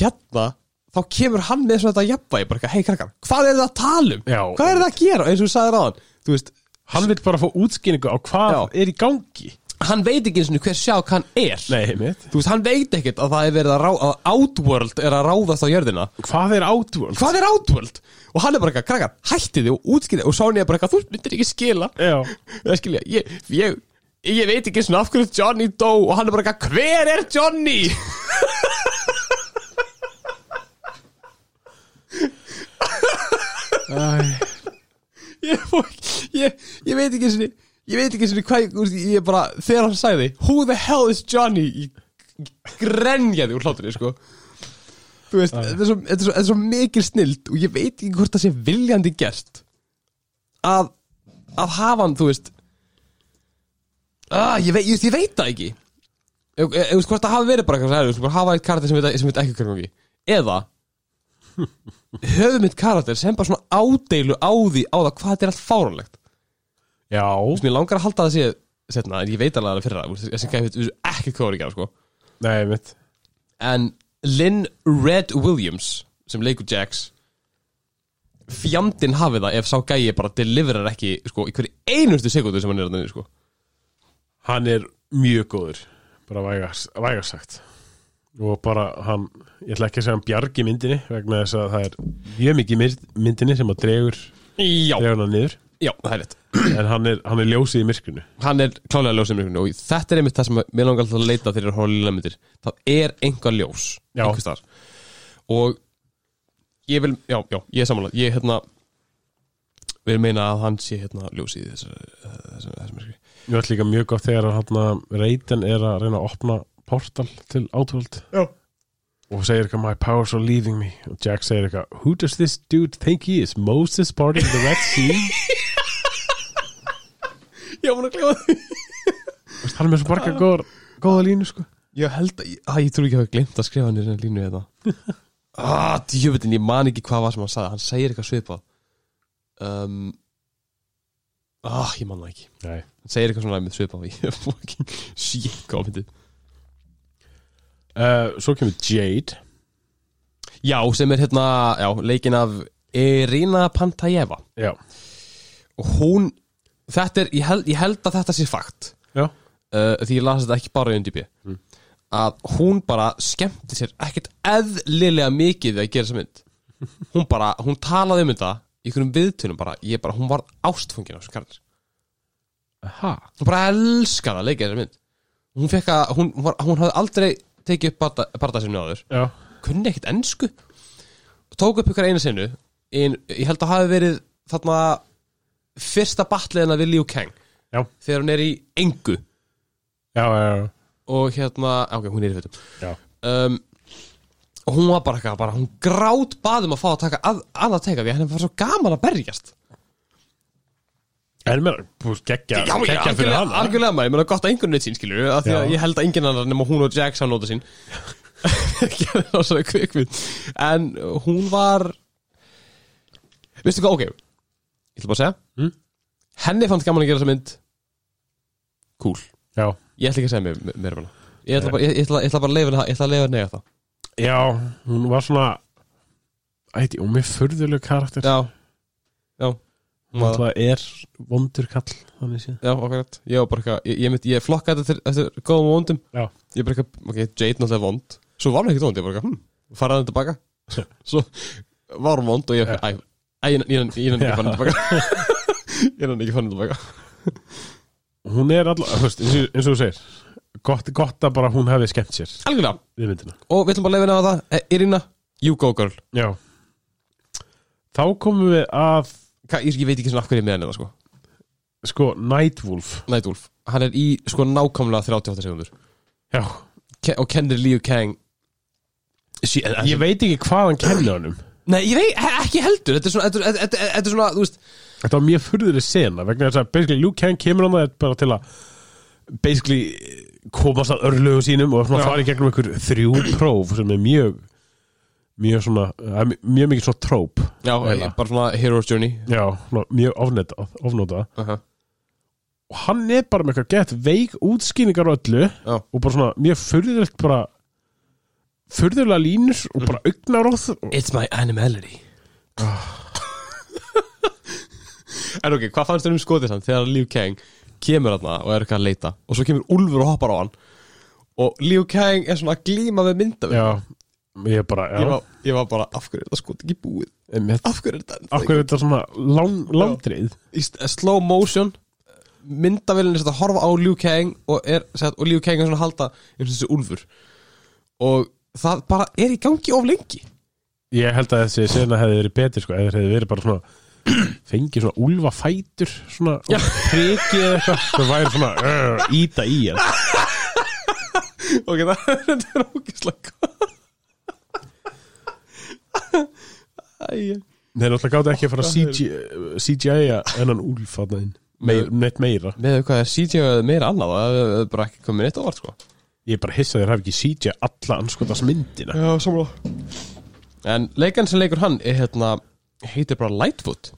[SPEAKER 1] Hérna, þá kemur hann með svona þetta jafnvægi Bara eitthvað, hei krakkar, hvað er það að tala um?
[SPEAKER 2] Já.
[SPEAKER 1] Hvað er það að gera, eins og þú sagði ráðan Þú veist,
[SPEAKER 2] hann vil bara fá útskýringu á hvað
[SPEAKER 1] Já.
[SPEAKER 2] er í gangi
[SPEAKER 1] hann veit ekki eins og hver sjá hann er
[SPEAKER 2] Nei, mitt
[SPEAKER 1] Þú veist, hann veit ekkert að það er verið að, rá, að Outworld er að ráðast á jörðina
[SPEAKER 2] Hvað er Outworld?
[SPEAKER 1] Hvað er Outworld? Og hann er bara eitthvað, krakkar, hætti þið og útskýrði Og Sony er bara eitthvað, þú myndir ekki skila
[SPEAKER 2] Já,
[SPEAKER 1] Það skilja, ég, ég, ég veit ekki svona af hverju Johnny dó og hann er bara eitthvað, hver er Johnny? ég, fó- ég, ég veit ekki svona, ég veit ekki svona hvað, ég- þú veist, ég bara, þegar hann sagði, who the hell is Johnny? Ég grenjaði úr hláturinn, sko. Þú veist, þetta er, svo, þetta, er svo, þetta er svo mikil snild og ég veit ekki hvort það sé viljandi gert að, að hafa hann, þú veist, Ah, ég veit, ég, veist, ég veit það ekki Ég ég- ég veist hvort það hafi verið bara eitthvað svona, "Herru, við skulum bara hafa eitt karakter sem veit, sem veit ekki hvernig gangi Eða Höfum eitt karakter sem bara svona ádeilu á því Á það hvað þetta er allt fáránlegt
[SPEAKER 2] já,
[SPEAKER 1] Þú veist, Mér langar að halda það sé setna, En ég veit alveg að það fyrir það Þessi gæfi þetta ekki hvað var að gera sko.
[SPEAKER 2] nei, mitt
[SPEAKER 1] En Lynn Red Williams Sem leikur Jax Fjandinn hafi það ef sá gæi bara Deliverar ekki sko, í hverju einustu sekundu Sem hann er að þannig sko.
[SPEAKER 2] Hann er mjög góður Bara vægars, vægarsagt Og bara hann, ég ætla ekki að segja hann bjargi myndinni Vegna þess að það er mjög mikið mynd- myndinni sem að dregur
[SPEAKER 1] Já,
[SPEAKER 2] Dregur hann niður
[SPEAKER 1] já, það er rétt
[SPEAKER 2] En hann er, hann er ljósið í myrkrinu
[SPEAKER 1] hann er klálega ljós í myrkrinu og þetta er einmitt það sem mér langar alltaf að leita þegar ég er að horfa á lilla myndir það er einhver ljós
[SPEAKER 2] Já.
[SPEAKER 1] einhvers staðar. og ég vil, já, já, ég er samanlega ég hérna vil meina að hann sé hérna ljós í þessu, þessu, þessu myrkri
[SPEAKER 2] Ég ætla líka mjög gott þegar hann Reitin er að reyna að opna portal til Outworld
[SPEAKER 1] Já.
[SPEAKER 2] Og segir eitthvað, my powers are leaving me Og Jack segir eitthvað, who does this dude think he is? Moses parting the Red Sea?
[SPEAKER 1] já, hún er klíma því
[SPEAKER 2] Veist, hann er með svo marga góðar, góða línu sko.
[SPEAKER 1] ég held að, að ég trú ekki að hafa glemt að skrifa hann í þessari línu hérna ah, djöfutin, ég man ekki hvað var sem hann sagði hann segir eitthvað svipað um, ah, ég man það ekki
[SPEAKER 2] Nei.
[SPEAKER 1] hann segir eitthvað svona með svipað og ég fucking shit hvað á myndið
[SPEAKER 2] Uh, svo kemur Jade
[SPEAKER 1] Já, sem er hérna, já, leikin af Irina Pantajeva
[SPEAKER 2] já,
[SPEAKER 1] og hún, þetta er, ég held, ég held að þetta sé fakt
[SPEAKER 2] já,
[SPEAKER 1] uh, því ég las þetta ekki bara í UNDB að hún bara skemmti sér ekkert eðlilega mikið við að gera þessa mynd hún bara, hún talaði um þetta í einhverjum viðtunum bara, ég bara, hún var ástfungin á þessu karakter
[SPEAKER 2] ha
[SPEAKER 1] hún bara elskaði að leika þessa mynd hún fekk að, hún, hún, var, hún hafði aldrei tekið upp barda, barda sem náður
[SPEAKER 2] já,
[SPEAKER 1] kunni ekkert ennsku tók upp ykkur einu sinu en ég held að hafi verið þarna fyrsta batliðina við Liu Kang
[SPEAKER 2] já,
[SPEAKER 1] þegar hún er í engu
[SPEAKER 2] já, já,
[SPEAKER 1] og hérna, ok, hún er í fötum
[SPEAKER 2] já,
[SPEAKER 1] um, og hún var bara eitthvað bara, hún grát baðum að fá að taka að, annað teka því að henni var svo gaman að berjast
[SPEAKER 2] en mér, búst, geggja geggja fyrir
[SPEAKER 1] algjörlega,
[SPEAKER 2] hana
[SPEAKER 1] algjörlega maður, ég meina gott að einhvern veit sín skilur af því að
[SPEAKER 2] Já.
[SPEAKER 1] ég held að enginn annar nema hún og Jack sá nota sín gerði það svona kvikmynd en hún var veistu hvað, ok ég ætla bara að segja
[SPEAKER 2] Mm.
[SPEAKER 1] henni fannst gaman að gera þessa mynd cool,
[SPEAKER 2] já,
[SPEAKER 1] ég ætla ekki að segja mér, mér um hana ég ætla bara, ég, ég ætla, ég ætla bara að leifa henni- ég ætla að leifa henni að það
[SPEAKER 2] já, hún var svona ætti, og mér furðulegu karakter
[SPEAKER 1] já, já
[SPEAKER 2] hún alltaf er vondur kall þannig séð
[SPEAKER 1] Já, okkur rétt Ég, var bara eitthvað- ég, ég, mynd- ég flokka þetta eftir, eftir góðum og vondum
[SPEAKER 2] já,
[SPEAKER 1] Ég bara eitthvað, ok, Jade náttúrulega vond Svo var hún ekkert vond, ég bara eitthvað, hm, faraði hann tilbaka Svo var hún vond og ég, æ, æ, ég, ég, ég, ég, ég, ég fann hann tilbaka Ég hann ekki fann hann tilbaka
[SPEAKER 2] hún er alltaf, þú veist, eins og, eins og þú segir gott, gott að bara hún hefði skemmt sér
[SPEAKER 1] Algjörlega,
[SPEAKER 2] við myndina
[SPEAKER 1] og við ætlum bara að leifa henni á það Eh, Irina, you go girl
[SPEAKER 2] já þá komum við að
[SPEAKER 1] Ka, ég, ég veit ekki svona af hverju ég er með henni það sko
[SPEAKER 2] sko, Nightwolf
[SPEAKER 1] Nightwolf, hann er í sko nákvæmlega 38 sekundur
[SPEAKER 2] já,
[SPEAKER 1] Ke Og kennir Liu Kang Sí, en- en-
[SPEAKER 2] ég veit ekki hvað hann kenni honum
[SPEAKER 1] Nei, ég veit, ekki heldur Þetta er svona, þetta, er- þetta, þetta, þetta er svona, þú veist
[SPEAKER 2] Þetta var mjög furðurri sena vegna þess að basically Luke Kang kemur hann það bara til að basically komast að örlögu sínum og svona
[SPEAKER 1] Já.
[SPEAKER 2] fara í gegnum einhver þrjú próf sem er mjög mjög svona, það er mjög mikið svona tróp
[SPEAKER 1] Já,
[SPEAKER 2] Eiginlega.
[SPEAKER 1] bara svona hero's journey
[SPEAKER 2] já, svona mjög ofneta, ofnota
[SPEAKER 1] uh -huh.
[SPEAKER 2] og hann er bara með eitthvað gett veik útskýningar á öllu
[SPEAKER 1] Já.
[SPEAKER 2] og bara svona mjög furðurlegt bara furðurlega línur og bara augnaróð og
[SPEAKER 1] It's my animality Ah. En ok, hvað fannst þér um skotið hann þegar Liu Kang kemur hann og er eitthvað að leita og svo kemur Úlfur og hoppar á hann og Liu Kang er svona að glíma við mynda
[SPEAKER 2] já, ég bara,
[SPEAKER 1] ég,
[SPEAKER 2] já
[SPEAKER 1] var, ég var bara, af hverju er þetta skotið ekki búið
[SPEAKER 2] einmitt.
[SPEAKER 1] af hverju er þetta ennþá
[SPEAKER 2] af hverju er þetta svona lang, langdreið
[SPEAKER 1] í st- eh, slow motion myndavélinn er sett að horfa á Liu Kang og, er, sett, og Liu Kang er svona að halda eins og þessi Úlfur og það bara er í gangi of lengi
[SPEAKER 2] Ég held að þessi sena hefði verið betur sko, eða hefði verið bara svona fengið svona úlfa fætur svona og prikið eða eitthvað það væri svona uh, íta í hann
[SPEAKER 1] Ok, það þetta er ógislega gott Æja
[SPEAKER 2] Þeir náttúrulega gáttu ekki að fara að uh, CG, CGI-a ennan úlf að inn Meir, neitt meira
[SPEAKER 1] Með hvað er CGI eða meira annað Það er bara ekki komið neitt á vart sko
[SPEAKER 2] Ég er bara hissa að þeir hafi ekki CGI alla anskotast myndina
[SPEAKER 1] Já, samlega En leikann sem leikur hann er hérna Heitir bara Lightfoot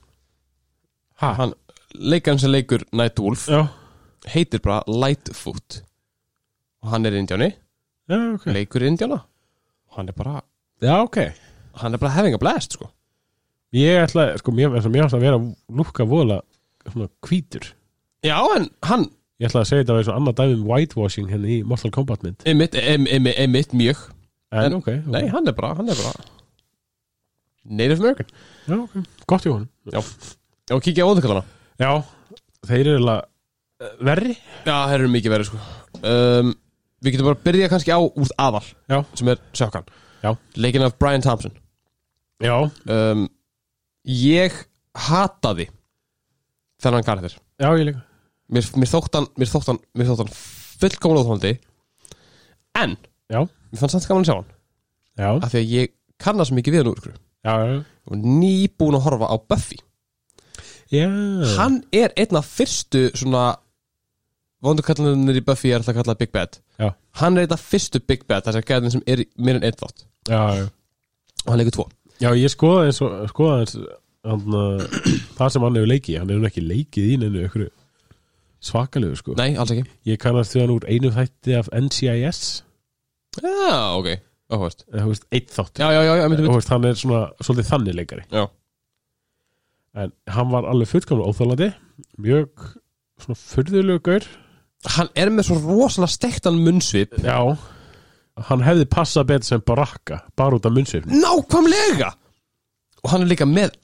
[SPEAKER 2] ha,
[SPEAKER 1] hann, Leikann sem leikur Nightwolf
[SPEAKER 2] Já,
[SPEAKER 1] Heitir bara Lightfoot Og hann er indjáni
[SPEAKER 2] já, ok
[SPEAKER 1] Leikur indjána Og hann er bara
[SPEAKER 2] Já, ok
[SPEAKER 1] Hann er bara having a blast sko
[SPEAKER 2] Ég ætla, sko, mér finnst mér fannst að vera lúkka vola svona hvítur
[SPEAKER 1] Já, en hann
[SPEAKER 2] Ég ætla að segja þetta að vera svona annað dæmi um whitewashing henni í Mortal Kombat mynd
[SPEAKER 1] Einmitt, einmitt, einmitt, einmitt mjög En-
[SPEAKER 2] En, ok, ok
[SPEAKER 1] Nei, hann er bara, hann er bara Native American
[SPEAKER 2] Já, ok, gott í honum
[SPEAKER 1] Já, kíkja á óðurkallana
[SPEAKER 2] Já, þeir eru eiginlega eh, verri
[SPEAKER 1] Já, það eru mikið verið sko um, Við getum bara að byrja kannski á úr aðal
[SPEAKER 2] Já.
[SPEAKER 1] Sem er sjökkan
[SPEAKER 2] Já.
[SPEAKER 1] Leikinn af Brian Thompson
[SPEAKER 2] Já,
[SPEAKER 1] um, Ég hataði Þennan karakter
[SPEAKER 2] já, ég líka
[SPEAKER 1] Mér, mér þótt hann, mér þótt hann, mér þótt hann Fullkomlega óþólandi En
[SPEAKER 2] Já,
[SPEAKER 1] Mér fannst þetta gaman að sjá hann
[SPEAKER 2] já,
[SPEAKER 1] Af því að ég kannast mikið við hann úr ykkur
[SPEAKER 2] já,
[SPEAKER 1] Og nýbúin að horfa á Buffy
[SPEAKER 2] já
[SPEAKER 1] hann er einn af fyrstu svona vondurkallanir í Buffy er alltaf kallað Big Bad
[SPEAKER 2] Já.
[SPEAKER 1] hann er einn af fyrstu Big Bad þess að gæðin sem er í mér en einn þátt
[SPEAKER 2] Já, já,
[SPEAKER 1] og hann leikur tvo
[SPEAKER 2] já, ég skoða eins og skoða eins hann, uh, það sem hann hefur leikið, hann hefur nú ekki leikið í neinu ykkur svakalegu sko
[SPEAKER 1] nei, alls ekki
[SPEAKER 2] Ég kannast því hann úr einu þætti af NCIS
[SPEAKER 1] já, ok, áhverst
[SPEAKER 2] eða, þú veist, eitt þátt
[SPEAKER 1] já, já, já, já, myndi,
[SPEAKER 2] og veist, hann er svona svolítið þannig leikari
[SPEAKER 1] já.
[SPEAKER 2] en hann var alveg fullkomlega óþálandi mjög svona furðulegu gaur
[SPEAKER 1] Hann er með svo rosalega stektan munnsvip
[SPEAKER 2] já, hann hefði passað betur sem barakka, bara út af munnsvifni
[SPEAKER 1] Nákvæmlega Og hann er líka með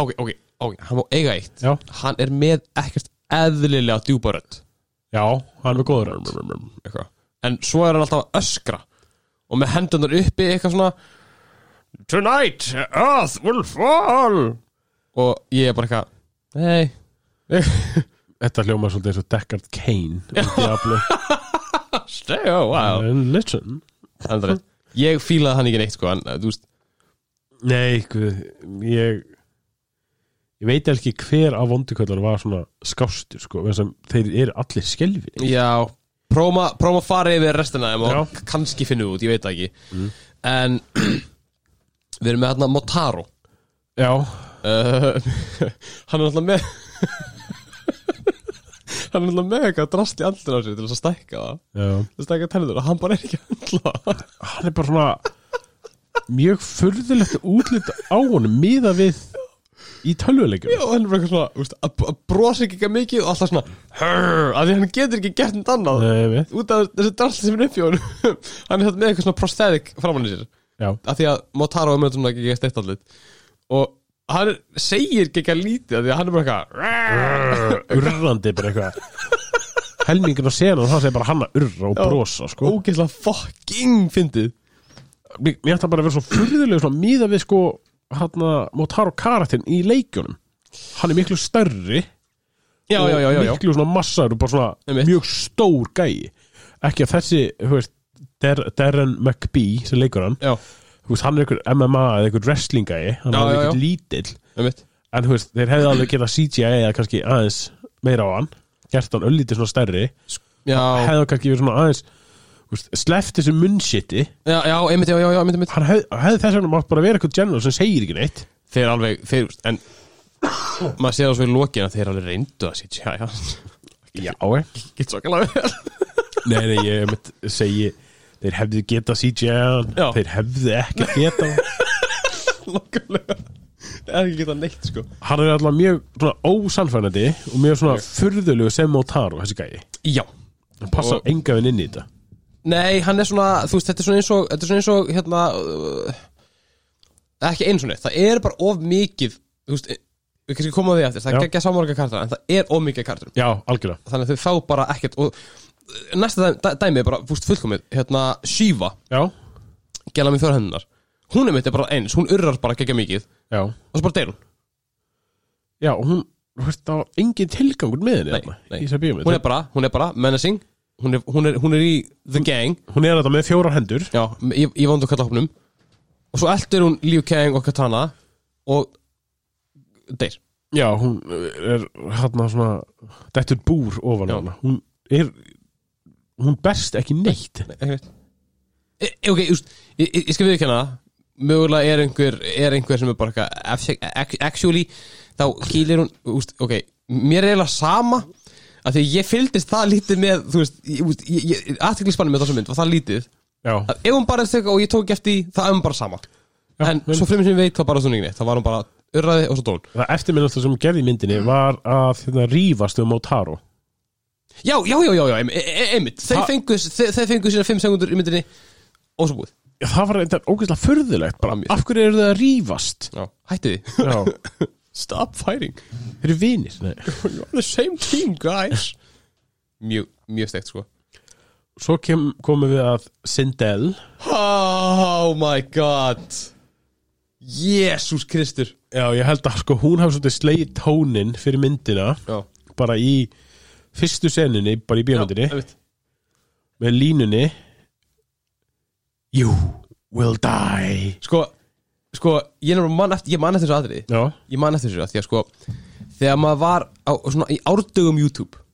[SPEAKER 1] Ok, ok, ok, hann má eiga eitt
[SPEAKER 2] já,
[SPEAKER 1] Hann er með ekkert eðlilega djúpa rödd
[SPEAKER 2] já, hann er góður rödd.
[SPEAKER 1] Eitthvað. En svo er hann alltaf að öskra Og með hendunar uppi eitthvað svona Tonight, earth will fall Og ég er bara eitthvað Nei
[SPEAKER 2] þetta hljóma svolítið eins og Deckard Cain úr Diablo.
[SPEAKER 1] Stay a while
[SPEAKER 2] en listen
[SPEAKER 1] Andri, Ég fílaði hann ekki neitt sko en, uh, Þú veist,
[SPEAKER 2] nei, guð, ég ég veit ekki hver af vondukallar var svona skástur sko, vegna sem þeir eru allir skelfir
[SPEAKER 1] Já, prófum að- prófum að fara yfir restina þeim og
[SPEAKER 2] Já.
[SPEAKER 1] kannski finnum við út, ég veit það ekki En við erum með hérna Motaro
[SPEAKER 2] já,
[SPEAKER 1] uh, Hann er alltaf með Hann er alltaf með eitthvað drast í andlun á sér til þess að stækka það
[SPEAKER 2] já
[SPEAKER 1] til að stækka tennur og hann bara er ekki að handla það.
[SPEAKER 2] hann er bara svona mjög furðilegt útlit á honum miða við í tölvuleikum
[SPEAKER 1] Já, hann er bara eitthvað svona, úst, að, að brosa ekki eitthvað mikið og alltaf svona Hörr, að því hann getur ekki gert neitt annað
[SPEAKER 2] já,
[SPEAKER 1] Út af þessu drastli sem er upp í honum Hann er satt með eitthvað svona prosthetic framan í sér
[SPEAKER 2] já,
[SPEAKER 1] að því að Motaro er með svona ekki gett eitt allit og hann er- segir ekki að lítið af því að hann er bara eitthvað
[SPEAKER 2] urrandi bara eitthvað helmingin á senan þá segir bara hann að urra og
[SPEAKER 1] Já.
[SPEAKER 2] brosa sko.
[SPEAKER 1] ógeðslega fucking fyndið
[SPEAKER 2] mér mér ætti bara að vera svo furðilegu svona miða við sko hann að Motaro karatinn í leikjunum hann er miklu stærri
[SPEAKER 1] já, já, já, já, já.
[SPEAKER 2] og miklu svona massar og bara svona
[SPEAKER 1] Einmitt.
[SPEAKER 2] mjög stór gæi ekki að þessi, þú veist Der, Darren McBee sem leikur hann
[SPEAKER 1] já,
[SPEAKER 2] þú veist, hann er einhver MMA eða einhver wrestling gæi hann
[SPEAKER 1] Já,
[SPEAKER 2] er
[SPEAKER 1] já, já.
[SPEAKER 2] einhver lítill
[SPEAKER 1] einmitt
[SPEAKER 2] en þú veist, þeir hefði alveg getað CGI eða kannski aðeins meira á hann gert hann öllítið svona stærri
[SPEAKER 1] já,
[SPEAKER 2] hefði hann kannski verið svona aðeins þú veist, sleft þessu munnshiti
[SPEAKER 1] já, já, einmitt, já, já, já, einmitt, einmitt
[SPEAKER 2] hann hefði, hefði þess vegna mátt bara vera eitthvað general sem segir ekki neitt
[SPEAKER 1] þeir alveg, þeir, en maður sé það svo í lokin að þeir alveg reyndu að sitja já, já,
[SPEAKER 2] já, eh.
[SPEAKER 1] get svo gæla vel
[SPEAKER 2] nei, nei, ég mitt segi þeir hefði getað CGI hann
[SPEAKER 1] Já.
[SPEAKER 2] þeir hefði ekki getað hann.
[SPEAKER 1] nokkulega það er ekki geta neitt, sko
[SPEAKER 2] hann er alltaf mjög svona ósannfærandi og mjög svona furðulegu sem Motaro þessi gæi,
[SPEAKER 1] já,
[SPEAKER 2] hann passa
[SPEAKER 1] Og-
[SPEAKER 2] enga vinn inn í þetta
[SPEAKER 1] nei, hann er svona þú veist, þetta er svona eins og, þetta er svona eins og hérna, uh, ekki eins og neitt það er bara of mikið þú veist, við kannski komum að því aftur það
[SPEAKER 2] Já.
[SPEAKER 1] er ekki að samorga kartar, en það er of mikið af kartum
[SPEAKER 2] já, algjörlega,
[SPEAKER 1] þannig að þau fá bara ekkert og uh, næsta dæ- dæ- dæmi er bara, þú veist, fullkomið hérna, Shiva,
[SPEAKER 2] já,
[SPEAKER 1] gæla mér fjóra hennar hún er mitt er bara eins, hún urrar bara gegja mikið og
[SPEAKER 2] já
[SPEAKER 1] svo bara deyr hún
[SPEAKER 2] Já, og hún, þú veist, það var engin tilgangur með henni
[SPEAKER 1] Nei,
[SPEAKER 2] þarna,
[SPEAKER 1] nei.
[SPEAKER 2] í þessari bíómynd.
[SPEAKER 1] hún er bara, hún er bara menacing hún er, hún er, hún er í The Gang
[SPEAKER 2] Hún er þetta með fjórar hendur
[SPEAKER 1] já, í, í vandu kalla hópnum og svo eldur hún Liu Kang og Katana og deyr
[SPEAKER 2] Já, hún er hann svona Dettur búr ofan
[SPEAKER 1] Já.
[SPEAKER 2] hana Hún er Hún berst ekki neitt
[SPEAKER 1] Nei, ekki veit e, ok, just, ég, ég- ég skal viðkjanna mögulega er einhver, er einhver sem er bara eitthvað, ac- ac- actually þá kýlir hún, úst, ok mér er eiginlega sama af því að ég fylgdist það lítið með þú veist, ég- úst, ég- ég- athyglisspannið með þessa mynd var það lítið
[SPEAKER 2] Já,
[SPEAKER 1] að ef hún bara er stökk og ég tók ekki eftir því, það er hún bara sama en
[SPEAKER 2] vel.
[SPEAKER 1] svo fremur sem ég veit þá bara svona neitt þá var hún bara urraði og svo dól
[SPEAKER 2] það eftirminnast sem hún gerði í myndinni var að hérna rífast um Motaro
[SPEAKER 1] já, já, já, já, já, einmi- e- e- einmitt þeir
[SPEAKER 2] Ha-
[SPEAKER 1] fengu, þeir, þeir fengu sína 5 sekundur í myndinni og svo búið
[SPEAKER 2] Já, það var þetta ógeðslega furðulegt bara,
[SPEAKER 1] Mjög.
[SPEAKER 2] Af hverju eru það að rífast?
[SPEAKER 1] já. hætti því
[SPEAKER 2] Já,
[SPEAKER 1] stop fighting
[SPEAKER 2] þeir eru vinir Nei.
[SPEAKER 1] you're on the same team guys mjög, mjög stegt sko
[SPEAKER 2] Svo kem, komum við að Sindel
[SPEAKER 1] oh my god Jesus Kristur
[SPEAKER 2] Já, ég held að sko hún hafi svolítið slegið tónin fyrir myndina
[SPEAKER 1] já,
[SPEAKER 2] bara í fyrstu seninni, bara í bíómyndinni
[SPEAKER 1] einmitt.
[SPEAKER 2] með línunni You will die
[SPEAKER 1] sko, sko ég, nefnilega man eftir, ég man eftir þessu aðrið
[SPEAKER 2] Já,
[SPEAKER 1] ég man eftir þessu af því að sko þegar maður var á, svona, í árdugum YouTube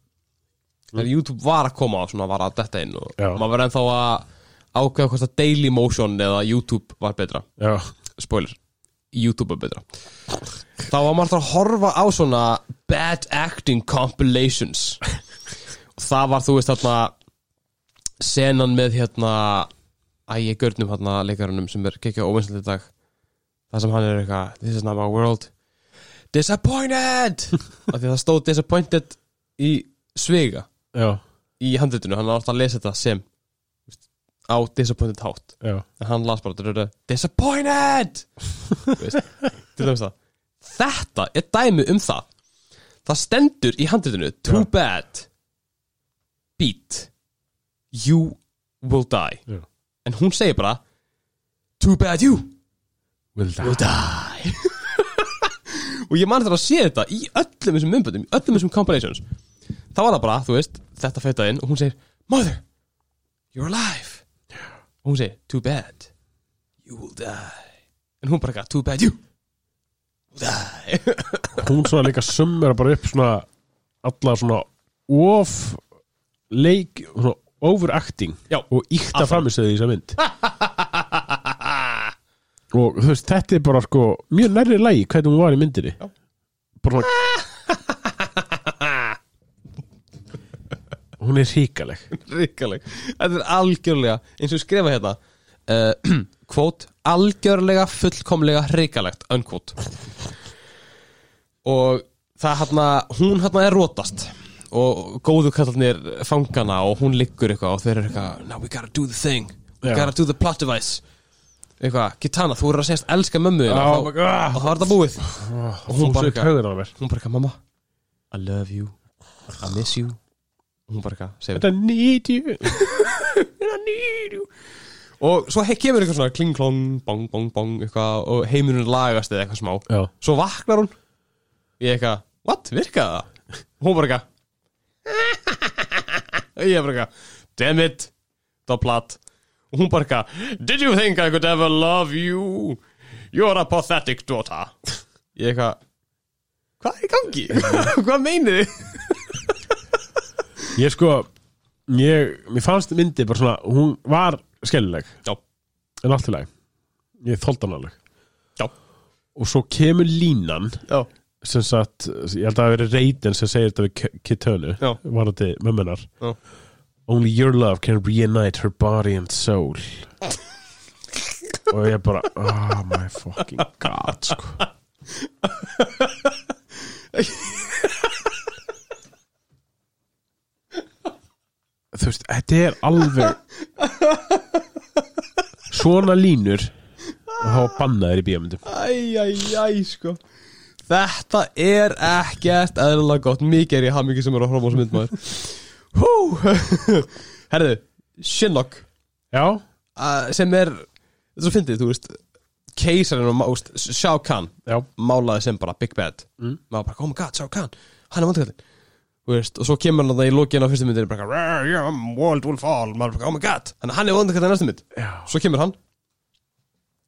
[SPEAKER 1] þegar YouTube var að koma og svona var að detta inn og
[SPEAKER 2] Já.
[SPEAKER 1] maður var ennþá að ákveða hvort að Daily Motion eða YouTube var betra
[SPEAKER 2] já,
[SPEAKER 1] spoiler, YouTube er betra þá var maður alltaf að horfa á svona bad acting compilations og það var þú veist þarna senan með hérna ægi görnum hérna leikarunum sem er kekja óvinslega í dag það sem hann er eitthvað this is not my world Disappointed Af því að það stóð disappointed í svega
[SPEAKER 2] já,
[SPEAKER 1] Í handritinu, hann átt að lesa þetta sem þú veist, Á disappointed hátt
[SPEAKER 2] já,
[SPEAKER 1] En hann las bara dröðu, Disappointed Þú veist, Til dæmis það Þetta er dæmi um það Það stendur í handritinu Too
[SPEAKER 2] Já.
[SPEAKER 1] bad Beat You will die
[SPEAKER 2] já.
[SPEAKER 1] En hún segir bara Too bad you
[SPEAKER 2] Will die.
[SPEAKER 1] die Og ég man þetta að sé þetta í öllum þessum myndböndum, í öllum þessum compilations Þá var það bara, þú veist, þetta feitað inn og hún segir Mother, you're alive Og hún segir, too bad You will die En hún bara eitthvað, too bad you will die
[SPEAKER 2] hún svona líka sömmera bara upp svona alla svona of leik, svona overacting
[SPEAKER 1] Já.
[SPEAKER 2] og íkta
[SPEAKER 1] Alltaf.
[SPEAKER 2] framistöðu í þessa mynd og þú veist, þetta er bara sko mjög nærri lægi hvernig hún var í myndinni
[SPEAKER 1] Já.
[SPEAKER 2] bara svona hún er ríkaleg
[SPEAKER 1] Ríkaleg, þetta er algjörlega eins og ég skrifa hérna uh, Quote, algjörlega fullkomlega ríkalegt, unquote Og það hérna, hún hérna er rótast Og góðu kallarnir fangana og hún liggur eitthvað og þeir eru eitthvað Now we gotta do the thing, we
[SPEAKER 2] Já.
[SPEAKER 1] gotta do the plot device Eitthvað, Kitana, þú eru að segjast elska mömmu þína
[SPEAKER 2] Oh
[SPEAKER 1] og
[SPEAKER 2] my
[SPEAKER 1] þá-
[SPEAKER 2] god.
[SPEAKER 1] Og þá er þetta búið
[SPEAKER 2] og
[SPEAKER 1] hún bara
[SPEAKER 2] hún bara
[SPEAKER 1] eitthvað-
[SPEAKER 2] kauður á mér
[SPEAKER 1] Hún bara eitthvað, mamma, I love you, I miss you Hún bara eitthvað, segir
[SPEAKER 2] þetta need you
[SPEAKER 1] og svo he- kemur eitthvað svona kling klong, bong bong bong eitthvað og heimurinn lagast eða eitthvað smá
[SPEAKER 2] já,
[SPEAKER 1] svo vaknar hún ég eitthvað, what, virkaði það? hún bara eitthvað ég bara eitthvað, damn it það var platt og hún bara eitthvað, did you think I could ever love you you're a pathetic daughter ég eitthvað hvað er í gangi? hvað meinið þið?
[SPEAKER 2] ég sko ég, mér fannst myndi bara svona hún var skellileg
[SPEAKER 1] já,
[SPEAKER 2] en allt í lagi ég þóldi hann alveg
[SPEAKER 1] já,
[SPEAKER 2] og svo kemur línan
[SPEAKER 1] já
[SPEAKER 2] sem sagt, ég held að það hafi verið reytin sem segir þetta við K- Kittönu
[SPEAKER 1] Já.
[SPEAKER 2] var þetta mömmunar
[SPEAKER 1] Já.
[SPEAKER 2] Only your love can reunite her body and soul og ég bara oh my fucking god sko. þú veist, þetta er alveg svona línur og þá bannaðir í bíamundum
[SPEAKER 1] Æj, æj, æj, sko Þetta er ekkert eðlilega gott Mikið er ég haf mikið sem er að horfa á sem myndmaður Hú Herðu, Shinlock
[SPEAKER 2] Já,
[SPEAKER 1] uh, Sem er, þetta er svo fyndið, þú veist Keisarinn og mást, Shao Kahn
[SPEAKER 2] já,
[SPEAKER 1] Málaði sem bara Big Bad mm. Maður bara, oh my god, Shao Kahn, hann er vandkallinn Þú veist, og svo kemur hann það í lokiðan á fyrstu myndinni bara, "Rrr, yeah, world will fall Maður bara, oh my god, hann hann er vandkallinn næstu mynd
[SPEAKER 2] já
[SPEAKER 1] Svo kemur hann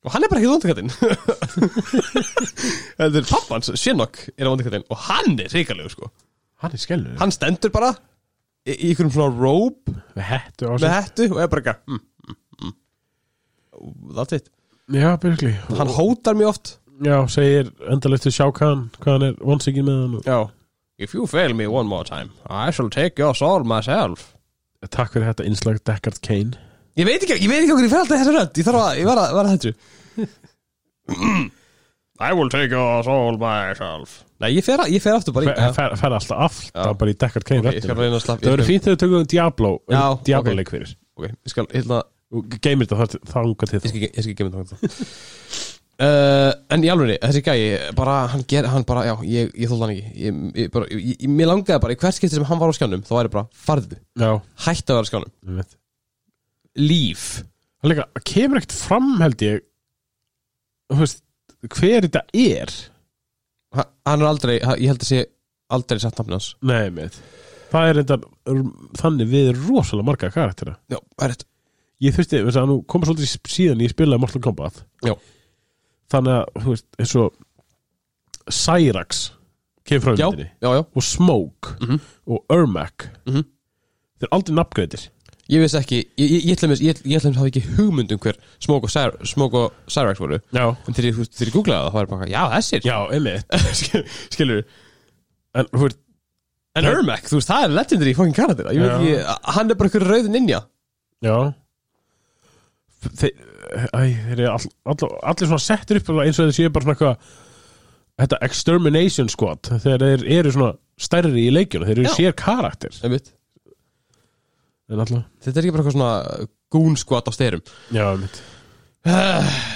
[SPEAKER 1] Og hann er bara ekki vondakattinn Þetta er pappans, Shinnok er vondakattinn Og hann er ríkalegur sko
[SPEAKER 2] Hann er skellur
[SPEAKER 1] Hann stendur bara í, í ykkurum svona robe
[SPEAKER 2] Með hættu á
[SPEAKER 1] með
[SPEAKER 2] sig
[SPEAKER 1] hættu og er bara ekki mm, mm, mm. That's it
[SPEAKER 2] Já, byrkli
[SPEAKER 1] Hann hótar mjög oft
[SPEAKER 2] Já, segir endalegt til sjá hvað hann Hvað hann er vonsingin með hann og...
[SPEAKER 1] Já If you fail me one more time I shall take your soul myself
[SPEAKER 2] Takk fyrir þetta innslag Deckard Kane
[SPEAKER 1] Ég veit ekki, ég veit ekki okkur ég fer alltaf þessu rödd Ég þarf að, ég var að, var að þetta I will take your soul myself Nei, ég fer, að- ég fer aftur bara í
[SPEAKER 2] Fer, fer, fer alltaf alltaf bara í Deckard Kane
[SPEAKER 1] Ok, ég skal
[SPEAKER 2] okay,
[SPEAKER 1] reyna að slappa
[SPEAKER 2] Það verður fínt þegar við tökum um Diablo
[SPEAKER 1] Já,
[SPEAKER 2] Diablo
[SPEAKER 1] ok.
[SPEAKER 2] leik fyrir
[SPEAKER 1] Ok, ég skal, ég ætla
[SPEAKER 2] Og geymir þetta þar- þangað til
[SPEAKER 1] Ég
[SPEAKER 2] það
[SPEAKER 1] skal, ég skal gefa mér það uh, En í alveg, þessi gæi Bara, hann ger, hann bara, já, ég, ég þóld hann ekki ég, ég, bara, ég, ég, Mér langaði bara, í hvert skipti sem hann var á skjánum Þá væri bara, farðu,
[SPEAKER 2] Já,
[SPEAKER 1] hætt að vera á skjánum
[SPEAKER 2] við veit
[SPEAKER 1] Líf
[SPEAKER 2] Það líka, það kemur ekkert fram held ég Þú veist, hver þetta er
[SPEAKER 1] ha, Hann er aldrei, ha, ég held að sé Aldrei satt nafni hans
[SPEAKER 2] Nei, með Það er þetta þannig við rosalega marga karaktera
[SPEAKER 1] Já, það er rétt
[SPEAKER 2] ég þurfti, þess að nú komið svolítið í- síðan ég spilaði Mortal Kombat
[SPEAKER 1] Já.
[SPEAKER 2] þannig að, þú veist, eins og Cyrax kemur frá
[SPEAKER 1] Já,
[SPEAKER 2] myndinni
[SPEAKER 1] já, já,
[SPEAKER 2] og Smoke
[SPEAKER 1] Mhm.
[SPEAKER 2] og Ermac
[SPEAKER 1] Mhm.
[SPEAKER 2] þeir eru aldrei nafngreitir
[SPEAKER 1] ég vissi ekki Ég, ég, ég ætla mér, ég, ég ætla mér hafa ekki hugmynd um hver Smoke og Cyr- Smoke og Cyrax voru
[SPEAKER 2] já,
[SPEAKER 1] En þegar ég, þú veist, þegar ég googlaði það, þá var ég bara Já, þessir
[SPEAKER 2] já, einmitt
[SPEAKER 1] Skil- Skilur
[SPEAKER 2] en, þú veist,
[SPEAKER 1] En Ermac, þú veist, það er legendary fucking karatera Ég veit
[SPEAKER 2] Já.
[SPEAKER 1] ekki, hann er bara einhver rauð ninja
[SPEAKER 2] já þeir, æ, þeir eru all, all, allir svona settir upp alveg eins og þeir séu bara svona eitthvað þetta extermination squad þegar þeir eru svona stærri í leikjunum þeir eru
[SPEAKER 1] Já.
[SPEAKER 2] sér karakter
[SPEAKER 1] einmitt.
[SPEAKER 2] en alltaf
[SPEAKER 1] Þetta er ekki bara eitthvað svona gúnskvat á styrum
[SPEAKER 2] já, einmitt.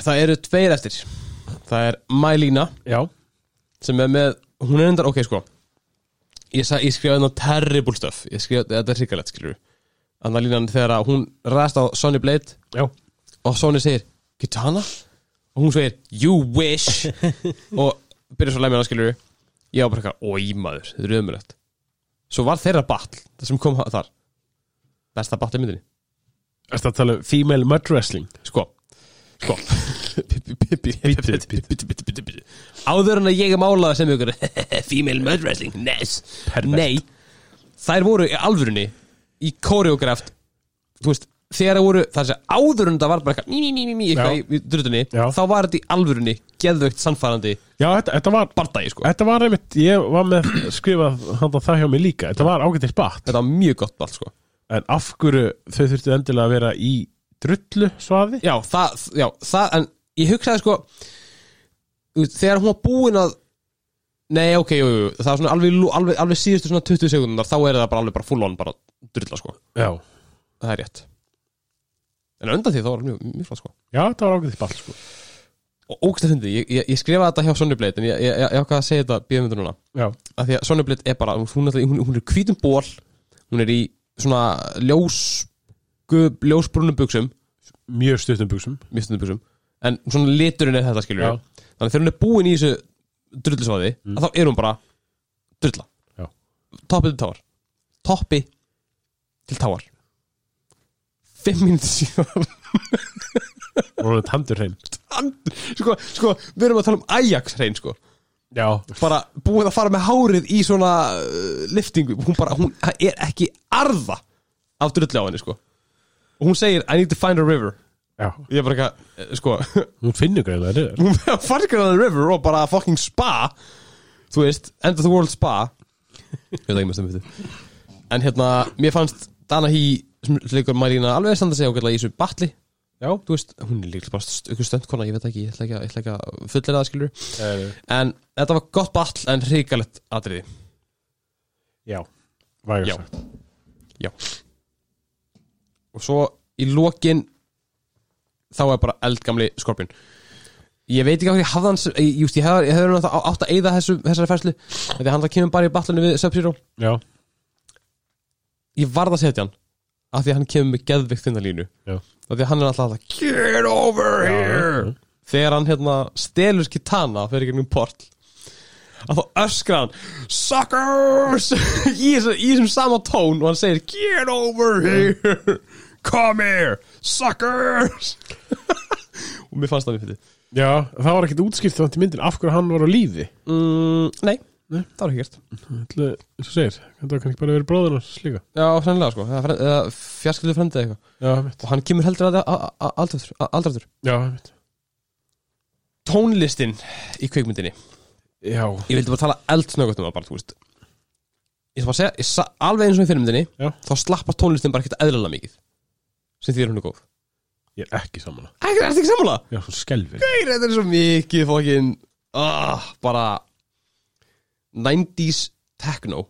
[SPEAKER 1] Það eru tveir eftir Það er Mælína
[SPEAKER 2] já,
[SPEAKER 1] sem er með, hún er endar, ok sko Ég, sa, ég skrifaði hérna terrible stuff Ég skrifaði, þetta er hrikalegt skilur Anna línan þegar að hún ræðst á Sonny Blade
[SPEAKER 2] já,
[SPEAKER 1] og Sonny segir Kitana? og hún segir you wish og byrjar svo að lemja hana skilur ég var bara eitthvað, oi maður, þetta er ömulegt svo var þeirra batl, það sem kom þar besta batl í myndinni
[SPEAKER 2] ertu að tala um female mud wrestling
[SPEAKER 1] sko, sko Bíddu,
[SPEAKER 2] Bíddu,
[SPEAKER 1] bíddu, bíddu, bíddu, bíddu. áður en að ég málaði sem ykkur female mud wrestling, nes
[SPEAKER 2] Pervert.
[SPEAKER 1] nei, þær voru í alvörunni í koreograft þú veist, þegar það voru það sé áður en það var bara eitthvað ný, ný, ný, ný, ný, eitthvað
[SPEAKER 2] Já.
[SPEAKER 1] í- í drutunni,
[SPEAKER 2] Já.
[SPEAKER 1] þá var þetta í alvörunni geðvögt sannfærandi
[SPEAKER 2] já, þetta, þetta var
[SPEAKER 1] bardagi sko,
[SPEAKER 2] Þetta var einmitt, ég var með skrifað handa það hjá mig líka, þetta var ágættis batt
[SPEAKER 1] þetta var mjög gott balt sko
[SPEAKER 2] en af hverju þau þurftu endilega að vera í drullu svaði?
[SPEAKER 1] já, það, já, það, en ég hugsaði sko þú veist, þegar hún var búin að nei, ok, jú, jú, jú, það var svona alveg, lú- alveg, alveg síðustu svona 20 sekundar þá er það bara alveg bara full on, bara drulla sko
[SPEAKER 2] Já,
[SPEAKER 1] það er rétt en á undan því þá var það mjög, mjög flott sko
[SPEAKER 2] já, þetta var ágættis batt sko.
[SPEAKER 1] og ógstað fyndið, ég, ég, ég skrifaði þetta hjá Sonny Blade en ég, ég, ég, ég ákvað að segja þetta bíðmyndur núna
[SPEAKER 2] Já,
[SPEAKER 1] af því að Sonja Blitt er bara hún, hún, hún, hún er í hvítum ból hún er í svona ljós gub, ljósbrunum buksum
[SPEAKER 2] mjög stuttum buksum
[SPEAKER 1] mistundum buksum en svona liturinn er þetta skilur þannig að þegar hún er búin í þessu drullisvæði að þá er hún bara drulla
[SPEAKER 2] Já.
[SPEAKER 1] toppi til táar toppi til táar fimm mínútur síðan
[SPEAKER 2] og hann tandur hrein
[SPEAKER 1] And- sko, sko, við erum að tala um Ajax hrein sko
[SPEAKER 2] Já,
[SPEAKER 1] bara búið að fara með hárið í svona uh, liftingu, hún bara, hún er ekki arða af drulli á henni sko og hún segir, I need to find a river
[SPEAKER 2] já,
[SPEAKER 1] ég er bara eitthvað, eh, sko
[SPEAKER 2] hún finnur greiðlega niður
[SPEAKER 1] hún fargar að river og bara fucking spa þú veist, end of the world spa ég veit ekki mest um þetta en hérna, mér fannst Dana Hí sem leikur Marina alveg að standa sig ágætlega í þessu batli
[SPEAKER 2] Já,
[SPEAKER 1] þú veist, hún er líka bara st- einhver stöndkona, ég veit ekki, ég ætla ekki að, ég ætla ekki að fullir það skilur, en þetta var gott batl en hrikalegt atriði
[SPEAKER 2] já, vægur
[SPEAKER 1] Já.
[SPEAKER 2] sagt
[SPEAKER 1] Já Og svo í lokin Þá er bara eldgamli skorpjón Ég veit ekki hvað ég hafði hans Ég, just, ég hefði hef hann átt að eyða þessu, þessari færslu Þegar hann það kemur bara í batlunni við Sub-Zero
[SPEAKER 2] Já,
[SPEAKER 1] Ég varð að setja hann Af því að hann kemur með geðvikt finnalínu
[SPEAKER 2] já,
[SPEAKER 1] Af því að hann er alltaf að Get over here
[SPEAKER 2] já.
[SPEAKER 1] Þegar hann hérna stelur kitana Fyrir ekki mjög port Að þá öskra hann Suckers í, þessu, í þessum sama tón Og hann segir Get over here Come here Suckers Og mér fannst það mér fyrir
[SPEAKER 2] já það var ekkit útskýrt þannig til myndin af hverju hann var á lífi
[SPEAKER 1] mm, nei, það var ekki gert
[SPEAKER 2] Ætli, Svo segir, þetta var kannski bara verið bróður hans líka
[SPEAKER 1] Já, sennilega sko Eða fre- eða Fjarskildu fremdið eitthvað
[SPEAKER 2] Já, einmitt.
[SPEAKER 1] Og hann kemur heldur að það Aldrættur
[SPEAKER 2] já, einmitt.
[SPEAKER 1] Tónlistin í kvikmyndinni
[SPEAKER 2] já,
[SPEAKER 1] Ég vildi bara tala eldsnöggt um það bara, þú veist Ég ætla bara að segja, ég sa, alveg eins og í fyrirmyndinni
[SPEAKER 2] Já.
[SPEAKER 1] Þá slappar tónlistin bara ekkert eðlilega mikið Sem því er hún er góð
[SPEAKER 2] Ég er ekki saman að
[SPEAKER 1] Ægir, ertu ekki sammála?
[SPEAKER 2] Já, svo skelfir
[SPEAKER 1] Ægir, þetta er svo mikið fókin ah, Bara 90s techno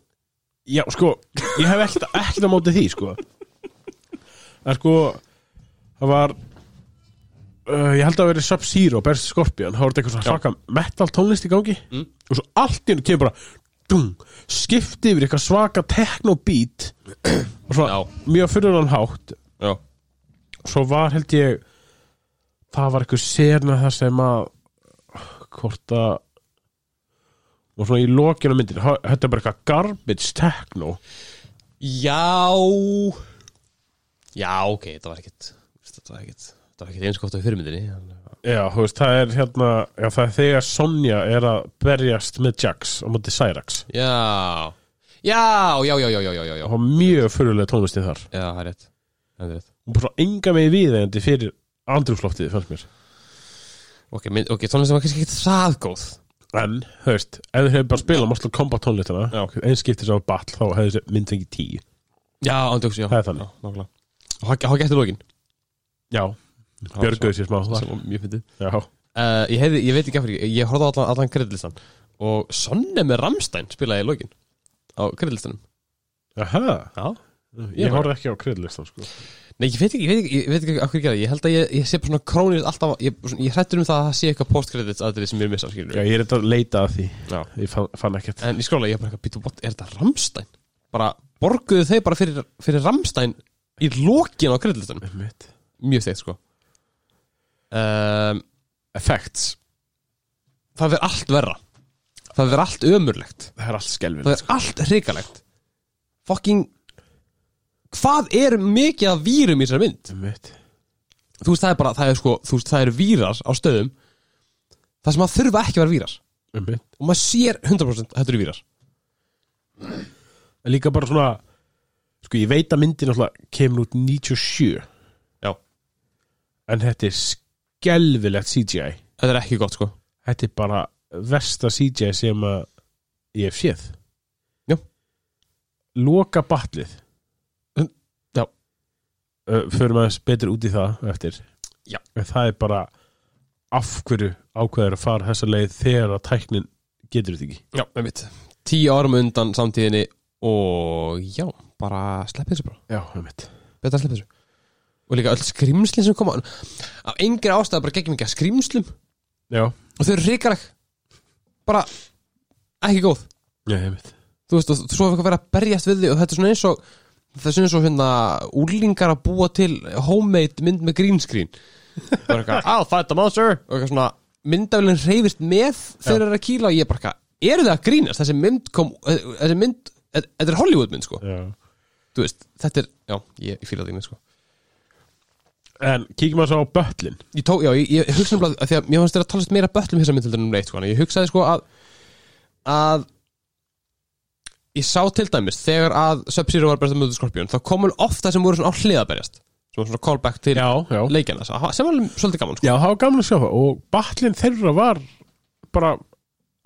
[SPEAKER 2] Já, sko, ég hef ekkert, ekkert á móti því, sko En sko Það var uh, Ég held að það verið Sub-Zero, Bersi Scorpion Það var þetta eitthvað svona svaka metal tónlist í gangi
[SPEAKER 1] Mm.
[SPEAKER 2] Og svo allt í hennu kemur bara dung, Skipti yfir eitthvað svaka techno beat Og svo
[SPEAKER 1] Já.
[SPEAKER 2] mjög fyrir hann hátt
[SPEAKER 1] Já,
[SPEAKER 2] Svo var held ég Það var eitthvað sérna það sem að Hvort að Og svona í lokinu myndin Þetta er bara eitthvað garbage techno
[SPEAKER 1] já Já, ok, þetta var ekkert Þetta var ekkert Þetta var ekkert eins gott á fyrirmyndinni
[SPEAKER 2] Já, þú veist, það er hérna já, það er þegar Sonja er að berjast með Jax á móti Cyrax
[SPEAKER 1] Já Já, já, já, já, já, já, já, já
[SPEAKER 2] og hafa mjög fyrirlega tónlistið þar
[SPEAKER 1] Já, það er rétt Það er rétt
[SPEAKER 2] og bara enga með viðeigandi fyrir andrúfsloftið, fannst mér
[SPEAKER 1] Ok, mynd, ok, tónlistin var kannski ekkert það góð
[SPEAKER 2] En, þú veist, ef þið hefur bara spilað Mortal Kombat tónlistina,
[SPEAKER 1] Já.
[SPEAKER 2] eins skiptis á battle þá hefði þessi mynd fengið tíu
[SPEAKER 1] Já, ándjóks, já
[SPEAKER 2] Það er þannig.
[SPEAKER 1] Já, nákvæmlega Og hann- hann gætti lókin
[SPEAKER 2] Já, björguðu sér smá
[SPEAKER 1] Það
[SPEAKER 2] þar
[SPEAKER 1] var mjög fyndið
[SPEAKER 2] Já,
[SPEAKER 1] Eh, uh, ég, heyrði- ég veit ekki af hverju, ég horfði á allan, allan kreditlistan og Sonne með Ramstein spilaði í lokin á kreðlistanum
[SPEAKER 2] Aha,
[SPEAKER 1] Já
[SPEAKER 2] ég horfði ekki á kreðlistan sko.
[SPEAKER 1] Nei, ég veit ekki, ég veit ekki, ég veit ekki af hverju ég gerði Ég held að ég, ég sé bara svona krónir alltaf Ég, svona- ég hrættur um það að það sé eitthvað post-credits aðrið sem ég missa skilur
[SPEAKER 2] Já, ég er þetta að leita að því
[SPEAKER 1] Já.
[SPEAKER 2] Ég fann, fann ekkert
[SPEAKER 1] En ég skróla, ég er bara eitthvað, býtu, what, er þetta Ramstein? Bara, borguðu þeir bara fyrir, fyrir Ramstein í lokin á kreðlistanum
[SPEAKER 2] Einmitt.
[SPEAKER 1] Mjög þeitt, sko um,
[SPEAKER 2] Effects
[SPEAKER 1] Það verður allt verra Það verður allt ömurlegt sko.
[SPEAKER 2] Það er allt
[SPEAKER 1] Það
[SPEAKER 2] skelfilegt sko.
[SPEAKER 1] er allt hrikalegt Fucking Hvað er mikið af vírum í þessari mynd?
[SPEAKER 2] Einmitt.
[SPEAKER 1] Þú veist það er bara, það er sko Þú veist það eru vírar á stöðum Það sem að þurfa ekki að vera vírar
[SPEAKER 2] Einmitt.
[SPEAKER 1] Og maður sér 100% að þetta eru vírar
[SPEAKER 2] En líka bara svona Sko, ég veit að myndin alltaf kemur út 97
[SPEAKER 1] Já
[SPEAKER 2] En þetta er skelfilegt CGI
[SPEAKER 1] Þetta er ekki gott sko
[SPEAKER 2] Þetta er bara versta CGI sem að ég hef séð
[SPEAKER 1] Já.
[SPEAKER 2] Loka batlið
[SPEAKER 1] Já.
[SPEAKER 2] Ö, Förum aðeins betur út í það eftir
[SPEAKER 1] Já.
[SPEAKER 2] En það er bara af hverju ákveður að fara þessa leið þegar að tæknin getur þetta ekki
[SPEAKER 1] Já, með mitt Tíu árum undan samtíðinni Og já, bara sleppið þessu bara
[SPEAKER 2] Já, um mitt
[SPEAKER 1] betra að sleppa þessu og líka öll skrimslin sem koma af engri ástæða bara geggjum ekki að skrimslum og
[SPEAKER 2] Já,
[SPEAKER 1] þau eru ríkaleg bara ekki góð
[SPEAKER 2] já, um mitt
[SPEAKER 1] þú veist og svo er eitthvað verið að berjast við því og þetta er svona eins og það er svona eins og hérna úlingar að búa til homemade mynd með green screen og er eitthvað I'll fight the monster og eitthvað svona myndavillin reyfist með þegar þeir eru að kýla og ég er bara eitthvað eru það að grínast þessi mynd kom þessi mynd þetta er Hollywood mynd sko
[SPEAKER 2] Já.
[SPEAKER 1] þú veist þetta er já ég, ég fíla það ekki sko
[SPEAKER 2] En kíkjum að svo á bötlin
[SPEAKER 1] ég tók, já, ég, ég hugsaði um að því að mér fannst þér að talast meira böllum þessar myndildar um neitt sko, en ég hugsaði sko að að ég sá til dæmis þegar að Sub-Zero var berjast að mjög skorpjón þá komum ofta sem voru svona á hliðaberjast sem var svona callback til
[SPEAKER 2] já
[SPEAKER 1] leikjana sem var alveg svolítið gaman sko.
[SPEAKER 2] Já, það var gaman að sjá það og batlin þeirra var bara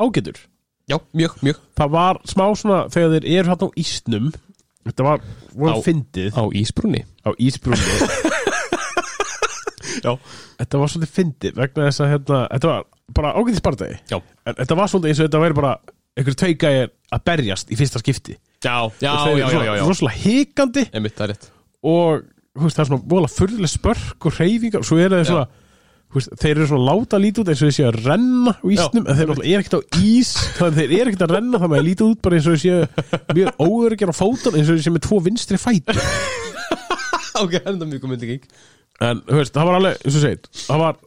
[SPEAKER 2] ágætur
[SPEAKER 1] já, mjög, mjög
[SPEAKER 2] það var smá svona þegar þeir eru hann á ísnum þetta var,
[SPEAKER 1] Á-
[SPEAKER 2] voru fyndið
[SPEAKER 1] á Ísbrunni
[SPEAKER 2] á ísbrúnu
[SPEAKER 1] já,
[SPEAKER 2] þetta var svolítið fyndið vegna þess að hérna, þetta var bara ágætið spartæði
[SPEAKER 1] já,
[SPEAKER 2] en þetta var svolítið eins og þetta væri bara einhverju tveikæðir að berjast í fyrsta skipti
[SPEAKER 1] já, já,
[SPEAKER 2] Og
[SPEAKER 1] já,
[SPEAKER 2] þeir eru
[SPEAKER 1] já,
[SPEAKER 2] svona-
[SPEAKER 1] já, já.
[SPEAKER 2] rosalega hikandi
[SPEAKER 1] Einmitt, það er rétt
[SPEAKER 2] og þú veist, það er svona vola furðilega spörk og reyfingar og svo eru þeir svona þú veist, þeir eru svona láta lítið út eins og þeir séu að renna á ísnum en þeir náttúrulega er ekkert á ís þannig að þeir eru ekkert að renna þannig að lítið út bara eins og þeir séu mjög óöryggjar á fótum eins og þeir séu með tvo vinstri fætur
[SPEAKER 1] ok, það er enda mjög myndið gík
[SPEAKER 2] en þú veist, það var alveg, eins og segir það var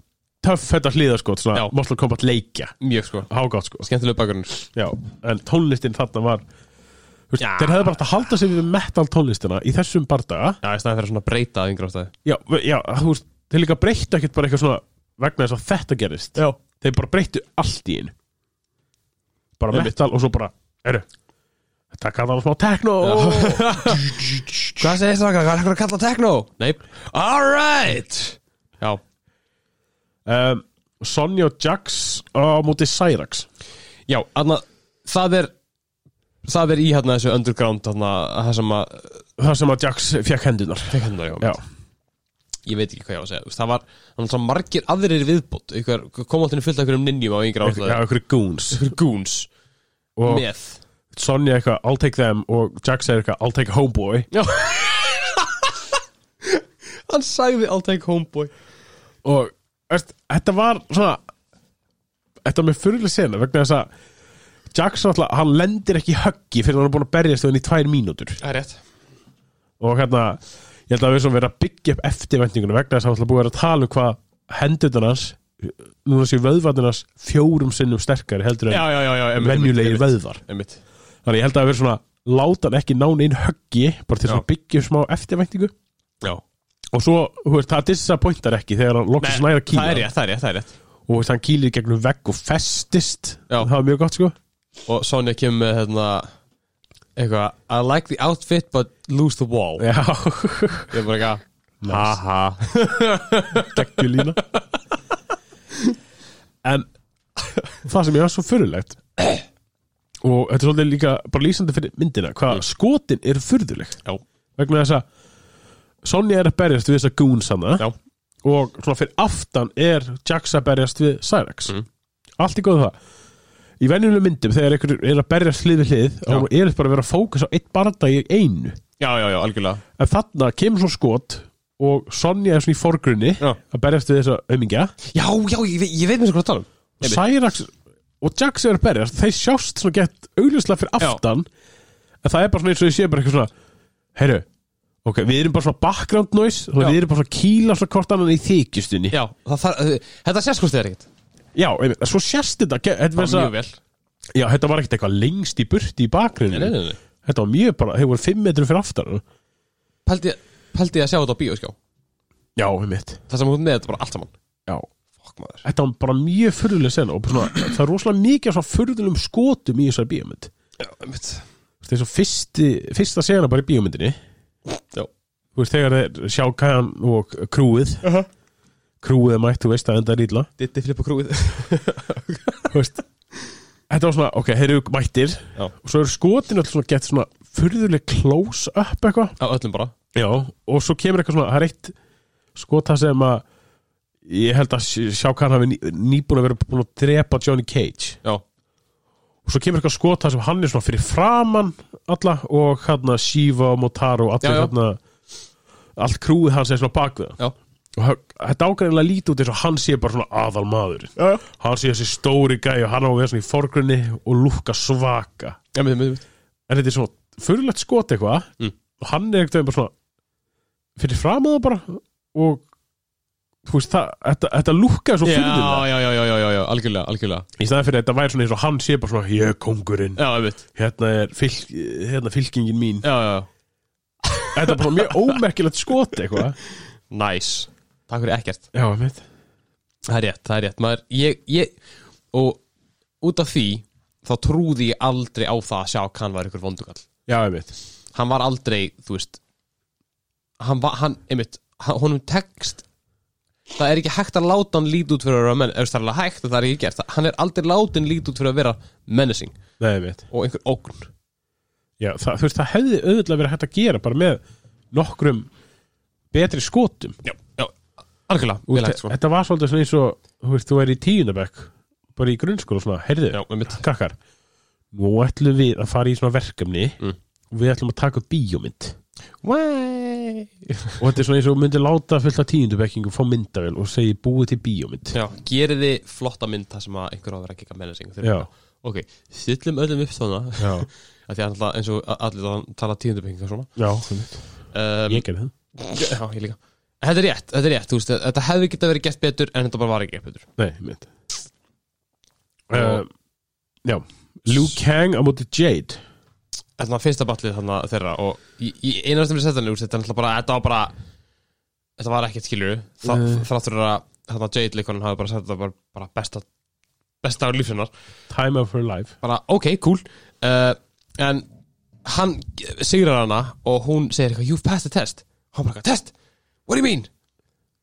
[SPEAKER 2] töff þetta hliðarskot svona,
[SPEAKER 1] Já.
[SPEAKER 2] Mortal Kombat leikja,
[SPEAKER 1] mjög sko,
[SPEAKER 2] hágátt sko
[SPEAKER 1] skemmtilega bakgrunn
[SPEAKER 2] Já. en tónlistin þarna var þú veist,
[SPEAKER 1] Já.
[SPEAKER 2] þeir hefðu bara átt að halda sig við metal tónlistina í þessum bardaga
[SPEAKER 1] já, í staðan fyrir svona að breyta að yngra ástæði
[SPEAKER 2] já, já, þú veist, þeir líka breyttu ekkert bara eitthvað svona vegna þess að þetta gerist já. þeir bara breyttu allt í einu bara
[SPEAKER 1] Einmitt.
[SPEAKER 2] metal og svo bara, eru þetta kallar hann smá techno
[SPEAKER 1] Hvað segir það? Hvað er ekkur að kalla techno? Nei Alright Já
[SPEAKER 2] um, Sonja og Jax á móti Cyrax
[SPEAKER 1] Já, anna, það er Það er í hérna þessu underground hérna, Það sem að
[SPEAKER 2] það sem að Jax fekk hendunar
[SPEAKER 1] hérna, já.
[SPEAKER 2] já,
[SPEAKER 1] Ég veit ekki hvað ég á að segja Þú veist, Það var það var svo margir aðrir viðbót ykkur, Kom alltaf fullt af einhverjum ninjum á yngra
[SPEAKER 2] já,
[SPEAKER 1] ástæðu
[SPEAKER 2] einhverju goons
[SPEAKER 1] Ykkur goons
[SPEAKER 2] og
[SPEAKER 1] Með
[SPEAKER 2] Sonja eitthvað, I'll take them og Jax er eitthvað, I'll take homeboy
[SPEAKER 1] Já Hann sagði I'll take homeboy
[SPEAKER 2] og veist, þetta var svona þetta var með fyrirlega sena vegna þess að Jackson alltaf, hann lendir ekki í höggi fyrir hann er búin að berjast við hann í tvær mínútur
[SPEAKER 1] Það er rétt
[SPEAKER 2] og hérna, ég held að við svona verið að byggja upp eftirvendingunum vegna þess að hann alltaf búið að vera að tala um hvað hendutan hans núna séu vöðvarnir hans fjórum sinnum sterkari heldur en
[SPEAKER 1] já, já, já einmitt,
[SPEAKER 2] venjulegir
[SPEAKER 1] einmitt,
[SPEAKER 2] vöðvar
[SPEAKER 1] Einmitt
[SPEAKER 2] þannig ég held að það verið svona, láta hann ekki nán inn höggi bara til þess
[SPEAKER 1] Já.
[SPEAKER 2] að byggja upp smá eftirvendingu
[SPEAKER 1] Já
[SPEAKER 2] og svo, þú veist, það disappointar ekki þegar hann loksins næra kýla
[SPEAKER 1] Það er rétt, það er rétt, það er rétt
[SPEAKER 2] og þú veist, hann kýlir í gegnum vegg og festist
[SPEAKER 1] Já.
[SPEAKER 2] það var mjög gott sko
[SPEAKER 1] og Sonja kemur með hérna eitthvað, I like the outfit but lose the wall
[SPEAKER 2] já,
[SPEAKER 1] ég er bara eitthvað, haha
[SPEAKER 2] geggjur lína en það sem ég var svo fyrirlegt og þetta er svolítið líka bara lýsandi fyrir myndina
[SPEAKER 1] Mm.
[SPEAKER 2] hvað skotin eru fyrðulegt
[SPEAKER 1] já,
[SPEAKER 2] vegna þess að Sonja er að berjast við þessa goons hana
[SPEAKER 1] já,
[SPEAKER 2] og svona fyrir aftan er Jax að berjast við Cyrax
[SPEAKER 1] Mm.
[SPEAKER 2] allt í góðu það í venjulegum myndum þegar einhver er að berja slið við hlið þá er þetta bara að vera að fókusa á eitt barnda í einu
[SPEAKER 1] Já, já, já, algjörlega
[SPEAKER 2] en þarna kemur svo skot og Sonja er svona í forgrunni
[SPEAKER 1] Já.
[SPEAKER 2] að berjast við þessa aumingja
[SPEAKER 1] Já, já, ég, ve- ég veit mér svo hvað að tala um Einmitt.
[SPEAKER 2] Cyrax og Jax er að berjast þeir sjást svona gett augljóslega fyrir
[SPEAKER 1] Já.
[SPEAKER 2] aftan en það er bara svona eins og ég sé bara eitthvað svona heyru, ok, við erum bara svona background noise og
[SPEAKER 1] Já.
[SPEAKER 2] við erum bara svona að kýla svona hvort annan í þykjustunni
[SPEAKER 1] Já, það, það, þetta sést hvort þið er ekkert
[SPEAKER 2] Já, einmitt, svo sjást þetta ge- þetta, var
[SPEAKER 1] Mjög
[SPEAKER 2] þessa-
[SPEAKER 1] vel
[SPEAKER 2] já, þetta var ekkert eitthvað lengst í burti í bakgrunni
[SPEAKER 1] Nei, nei, nei, nei.
[SPEAKER 2] Þetta var mjög bara, þeir voru 5 metrum fyrir aftan
[SPEAKER 1] Pældi, pældi að sjá þetta á bíóskjá
[SPEAKER 2] Já, einmitt
[SPEAKER 1] Það sem hún með þetta bara allt saman
[SPEAKER 2] Já,
[SPEAKER 1] Fokk maður
[SPEAKER 2] þetta var bara mjög furðuleg sen og bara svona, það er rosalega mikið af svona furðulegum skotum í þessari bíómynd
[SPEAKER 1] Já, einmitt
[SPEAKER 2] Þetta er svo fyrsti, fyrsta sena bara í bíómyndinni
[SPEAKER 1] Já
[SPEAKER 2] Þú veist, þegar þeir sjá kæðan og krúið
[SPEAKER 1] Aha.
[SPEAKER 2] Krúið er mætt, þú veist, það endar ítla
[SPEAKER 1] Ditti Filippa Krúið
[SPEAKER 2] Þetta var svona, ok, þeir eru mættir
[SPEAKER 1] Já.
[SPEAKER 2] Og svo eru skotin alltaf svona gett svona Furðuleg close up eitthvað
[SPEAKER 1] Á öllum bara
[SPEAKER 2] Já, og svo kemur eitthvað svona, það er eitt skota sem að ég held að sj- sjá hvað hann hafi ný- nýbúin að vera búin að drepa Johnny Cage
[SPEAKER 1] Já
[SPEAKER 2] og svo kemur eitthvað skota sem hann er svona fyrir framan alla og hann að Shiva og Motaro og allir
[SPEAKER 1] Já, já.
[SPEAKER 2] hann allt krúið hans er svona bak við hann
[SPEAKER 1] Já
[SPEAKER 2] og hann- þetta ágæðinlega lítið út eins og hann sé bara svona aðal maður
[SPEAKER 1] Já, já
[SPEAKER 2] hann sé þessi stóri gæi og hann á að vera svona í forgrunni og lúkka svaka
[SPEAKER 1] Einmitt, einmitt, einmitt
[SPEAKER 2] en þetta er svona fyrirlegt skot eitthvað
[SPEAKER 1] Mm.
[SPEAKER 2] og hann er eitthvað bara svona fyrir fram á það bara og þú veist það, þetta, þetta lúkkaði svo
[SPEAKER 1] Já,
[SPEAKER 2] fyrir það
[SPEAKER 1] já, já, já, já, já, já, algjörlega, algjörlega
[SPEAKER 2] í staðan fyrir að þetta væri svona eins og hann sé bara svona ég er kongurinn,
[SPEAKER 1] Já, einmitt
[SPEAKER 2] hérna er fylk, hérna fylkingin mín
[SPEAKER 1] Já, já, já
[SPEAKER 2] þetta er bara mjög ómerkilegt skot eitthvað
[SPEAKER 1] Næs Takk fyrir ekkert
[SPEAKER 2] já, einmitt
[SPEAKER 1] Það er rétt, það er rétt maður, ég, ég, Og út af því Þá trúði ég aldrei á það að sjá hvað hann var ykkur vondugall
[SPEAKER 2] já, einmitt
[SPEAKER 1] Hann var aldrei, þú veist Hann var, hann, einmitt hann, Honum tekst Það er ekki hægt að láta hann lít út fyrir að vera menn Ef það er alveg hægt, en það er ekki gert Hann er aldrei látin lít út fyrir að vera menacing
[SPEAKER 2] Nei, einmitt
[SPEAKER 1] Og einhver ógn
[SPEAKER 2] já, það, þú veist það hefði auðvitað verið hægt að gera bara með nokkrum betri skotum
[SPEAKER 1] Já, já, algjörlega,
[SPEAKER 2] Þú
[SPEAKER 1] vel
[SPEAKER 2] veist,
[SPEAKER 1] hægt sko
[SPEAKER 2] þetta var svolítið svona eins og þú veist, þú er í tíundabæk bara í grunnskóla og svona, heyrðu
[SPEAKER 1] Já, einmitt
[SPEAKER 2] krakkar, nú ætlum við að fara í svona verkefni
[SPEAKER 1] Mm.
[SPEAKER 2] og við ætlum að taka upp bíómynd
[SPEAKER 1] Way.
[SPEAKER 2] og þetta er svona eins og myndi láta fullt af tíundubækingu fá myndavél og segi búið til bíómynd
[SPEAKER 1] Já, gerið þið flotta mynd þar sem að einhver á að vera að kika menacing Þeir-
[SPEAKER 2] já,
[SPEAKER 1] Ok, stillum öllum upp svona
[SPEAKER 2] já,
[SPEAKER 1] að Því að alltaf eins og allir það tala tíundabenging og svona
[SPEAKER 2] já einmitt.
[SPEAKER 1] um,
[SPEAKER 2] ég gerði það
[SPEAKER 1] Já, ég líka Þetta er rétt, þetta er rétt, þú veist, þetta hefði geta verið gert betur en þetta bara var ekki gert betur
[SPEAKER 2] nei, mynd uh, já, Liu Kang á móti Jade
[SPEAKER 1] Þetta var fyrsta ballið þarna þeirra og í, í einastum við setja hann úr, þetta er alltaf bara, þetta var bara Þetta var ekkert skilur Þa,
[SPEAKER 2] Nei.
[SPEAKER 1] Þráttur að þarna Jade leikonin hafi bara sett þetta bara, bara besta besta á lífsinnar
[SPEAKER 2] Time of Her Life
[SPEAKER 1] bara ok, cool uh, en hann sigrar hana og hún segir eitthvað you've passed the test og hann bara eitthvað, test, what do you mean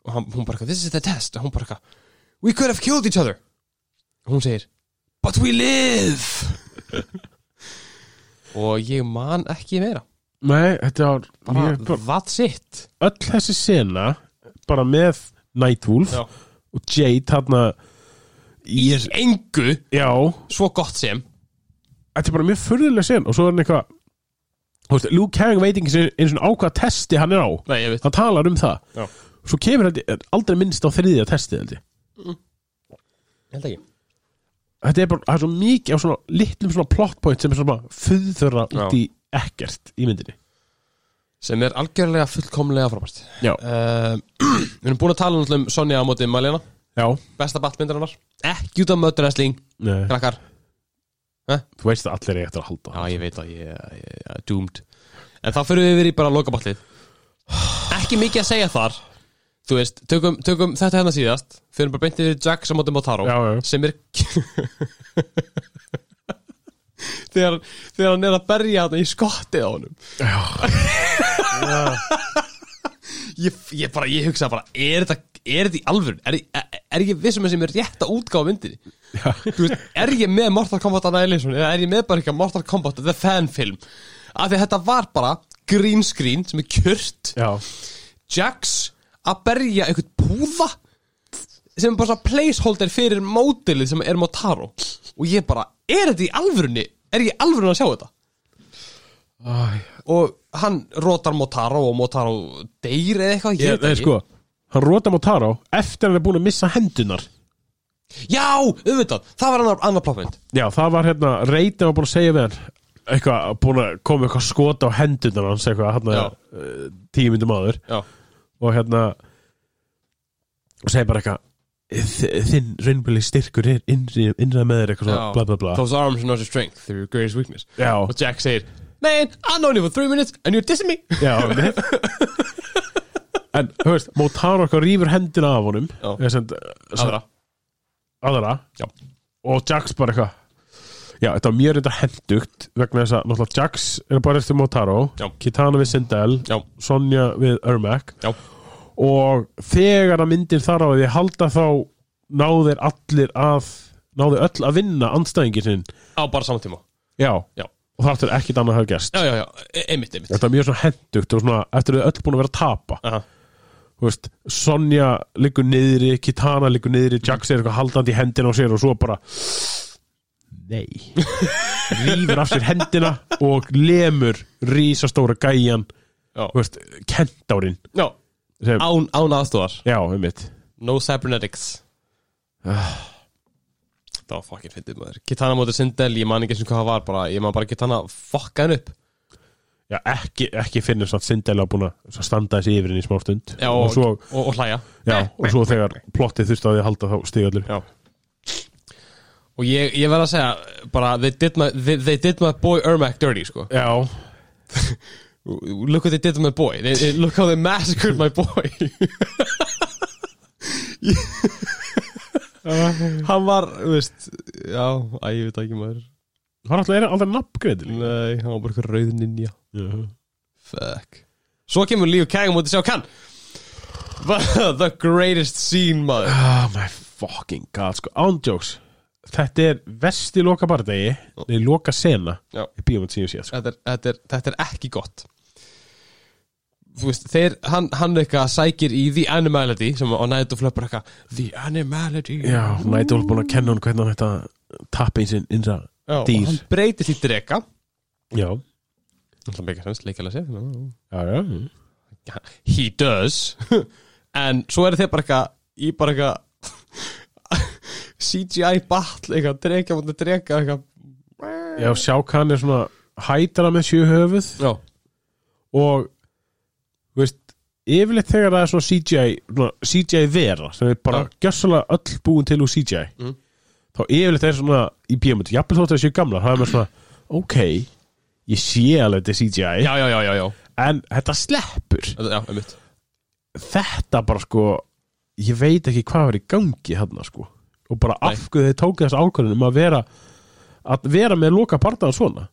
[SPEAKER 1] og hann, hún bara eitthvað, this is the test og hún bara eitthvað, we could have killed each other og hún segir, but we live og ég man ekki meira
[SPEAKER 2] nei, þetta var
[SPEAKER 1] bara,
[SPEAKER 2] mjög- bara,
[SPEAKER 1] that's it
[SPEAKER 2] öll þessi sena bara með Nightwolf og Jade þarna
[SPEAKER 1] í engu
[SPEAKER 2] já,
[SPEAKER 1] svo gott sem
[SPEAKER 2] þetta er bara mjög furðulega sen og svo er hann eitthvað þú veist, Luke Kang veit ekki einu einu svona á hvaða testi hann er á
[SPEAKER 1] Nei, ég veit
[SPEAKER 2] hann talar um það
[SPEAKER 1] Já.
[SPEAKER 2] svo kemur hann er aldrei minnst á þriðja testi held ég.
[SPEAKER 1] Held ekki
[SPEAKER 2] þetta er bara það er svo mikið á svona litlum svona plot point sem er svona fyrðurra út í ekkert í myndinni
[SPEAKER 1] Sem er algjörlega fullkomlega frábært
[SPEAKER 2] já,
[SPEAKER 1] uh, Við erum búin að tala náttúrulega um Sonja á móti Malena
[SPEAKER 2] já
[SPEAKER 1] besta ballmyndarinnar ekki út af möturæsling,
[SPEAKER 2] Nei,
[SPEAKER 1] krakkar
[SPEAKER 2] þú veist að allir er eftir að halda
[SPEAKER 1] já ég veit að ég, ég, ég er doomed en þá fyrir við yfir í bara lokaballið ekki mikið að segja þar þú veist, tökum, tökum þetta hérna síðast fyrir bara beintið við Jack sem átum á Taro
[SPEAKER 2] Já, já.
[SPEAKER 1] sem er þegar, þegar hann er að berja þarna í skottið á honum ég, ég bara, ég hugsa bara er þetta, er þetta í alvörun er, er, er ég vissum að sem er rétt að útgáfa myndinni
[SPEAKER 2] já,
[SPEAKER 1] Þú veist, er ég með Mortal Kombat Annihilation eða er ég með bara eitthvað Mortal Kombat The Fan Film af því að þetta var bara green screen sem er kjört
[SPEAKER 2] já.
[SPEAKER 1] Jax að berja einhvern púða sem er bara svona placeholder fyrir mótilið sem er Motaro og ég bara, er þetta í alvörunni? Er ég í alvörunni að sjá þetta?
[SPEAKER 2] Æ,
[SPEAKER 1] Og hann rótar Motaro og Motaro deyr eða eitthvað
[SPEAKER 2] ég,
[SPEAKER 1] veit
[SPEAKER 2] það er
[SPEAKER 1] ekki.
[SPEAKER 2] sko Hann rota Motaro eftir að hann er búin að missa hendunar
[SPEAKER 1] Já, auðvitað, það var annar, annar pláfmynd
[SPEAKER 2] Já, það var hérna, reytið var búin að segja við hann Eitthvað, búin að koma eitthvað skot á hendunar hans Eitthvað, hérna,
[SPEAKER 1] Já.
[SPEAKER 2] uh, tíu myndum áður
[SPEAKER 1] Já,
[SPEAKER 2] Og hérna Og segja bara eitthvað "Þi- Þinn raunbili styrkur er innri, innra með þér Eitthvað svona, bla bla bla
[SPEAKER 1] Those arms are not your strength, they're your greatest weakness
[SPEAKER 2] Já,
[SPEAKER 1] Og Jack segir, man, I know you for three minutes and you're dissing me
[SPEAKER 2] Já, nei. En, þú veist, Motaro okkar rýfur hendina af honum
[SPEAKER 1] Já.
[SPEAKER 2] eða sem,
[SPEAKER 1] Aðra,
[SPEAKER 2] aðra
[SPEAKER 1] já,
[SPEAKER 2] og Jax bara eitthvað Já, þetta var mjög reynda hendugt vegna þess að náttúrulega Jax er bara eftir Motaro
[SPEAKER 1] Já.
[SPEAKER 2] Kitana við Sindel
[SPEAKER 1] já,
[SPEAKER 2] Sonja við Ermac
[SPEAKER 1] já
[SPEAKER 2] og þegar að myndir þar á að ég halda þá náðir allir að náðir öll að vinna andstæðingir sinn
[SPEAKER 1] Á bara samtíma
[SPEAKER 2] Já,
[SPEAKER 1] Já,
[SPEAKER 2] og þar eftir ekkit annað hafa gerst
[SPEAKER 1] já, já, já, e- einmitt, einmitt
[SPEAKER 2] Þetta var mjög svona hendugt og svona eftir að þau öll búin að vera að tapa
[SPEAKER 1] Aha.
[SPEAKER 2] þú veist, Sonja liggur niðri, Kitana liggur niðri Jax er eitthvað haldandi í hendina á sér og svo bara nei rýfur af sér hendina og lemur rísastóra gæjan
[SPEAKER 1] Já.
[SPEAKER 2] þú veist, kentárin
[SPEAKER 1] Já,
[SPEAKER 2] sem,
[SPEAKER 1] án, án aðstofar
[SPEAKER 2] já, um mitt
[SPEAKER 1] No cybernetics Ah. Það var fucking fyndið maður Kitana mótið Sindel, ég man ekki eins og hvað það var bara, Ég man bara Kitana fokka hann upp
[SPEAKER 2] já, ekki, ekki finnum svona sindilega búin að standa þessi yfir henni í smá stund
[SPEAKER 1] já,
[SPEAKER 2] og, svo,
[SPEAKER 1] og, og hlæja
[SPEAKER 2] já, og svo þegar plottið þurfti að því að halda þá stiga allir
[SPEAKER 1] Já Og ég, ég verð að segja bara, they did, my, they, they did my boy Ermac dirty sko.
[SPEAKER 2] já,
[SPEAKER 1] Look what they did to my boy they, they, Look how they massacred my boy Hann var, þú veist Já, æ, ég veit ekki maður
[SPEAKER 2] hann alltaf er aldrei nafngreið
[SPEAKER 1] Nei, hann var bara eitthvað rauð ninja Fuck Svo kemur Liu Kang og mútið sjá kann The greatest scene, maður
[SPEAKER 2] Oh my fucking god, sko, ándjóks Þetta er vesti loka bardegi Nei, loka sena
[SPEAKER 1] Já.
[SPEAKER 2] Í bíómynd sem ég sé, sko
[SPEAKER 1] þetta er, þetta er, þetta er ekki gott Þú veist, þeir, hann, hann eitthvað sækir í The Animality sem á nættu flöppur eitthvað The Animality
[SPEAKER 2] Já, Nightwolf búin að kenna hún hvernig hann hætti að tappa í sinn innra
[SPEAKER 1] Já, og
[SPEAKER 2] dýr.
[SPEAKER 1] hann breytist í drega
[SPEAKER 2] Já,
[SPEAKER 1] Það meikar sens, leikjala sér
[SPEAKER 2] já, já mm.
[SPEAKER 1] He does En svo eru þeir bara eitthvað í bara eitthvað CGI battle eitthvað, drega mútið drega eitthvað
[SPEAKER 2] Já, sjá hvað hann er svona Hætara með sjö höfuð
[SPEAKER 1] Já,
[SPEAKER 2] Og, þú veist Yfirleitt þegar það er svona CGI svona CGI vera, sem er bara
[SPEAKER 1] Já.
[SPEAKER 2] gjössalega öll búin til úr CGI
[SPEAKER 1] Mm.
[SPEAKER 2] Þá yfirleitt er svona í bíómynd Jafnvel þótt að það séu gamla, það er maður svona Ok, ég sé alveg þetta er CGI
[SPEAKER 1] já, já, já, já, já.
[SPEAKER 2] en þetta sleppur
[SPEAKER 1] Þetta- já einmitt.
[SPEAKER 2] þetta bara sko ég veit ekki hvað var í gangi hann sko og bara
[SPEAKER 1] Nei.
[SPEAKER 2] af hverju þið tóku þessu ákvörðin um að vera að vera með loka partaðan svona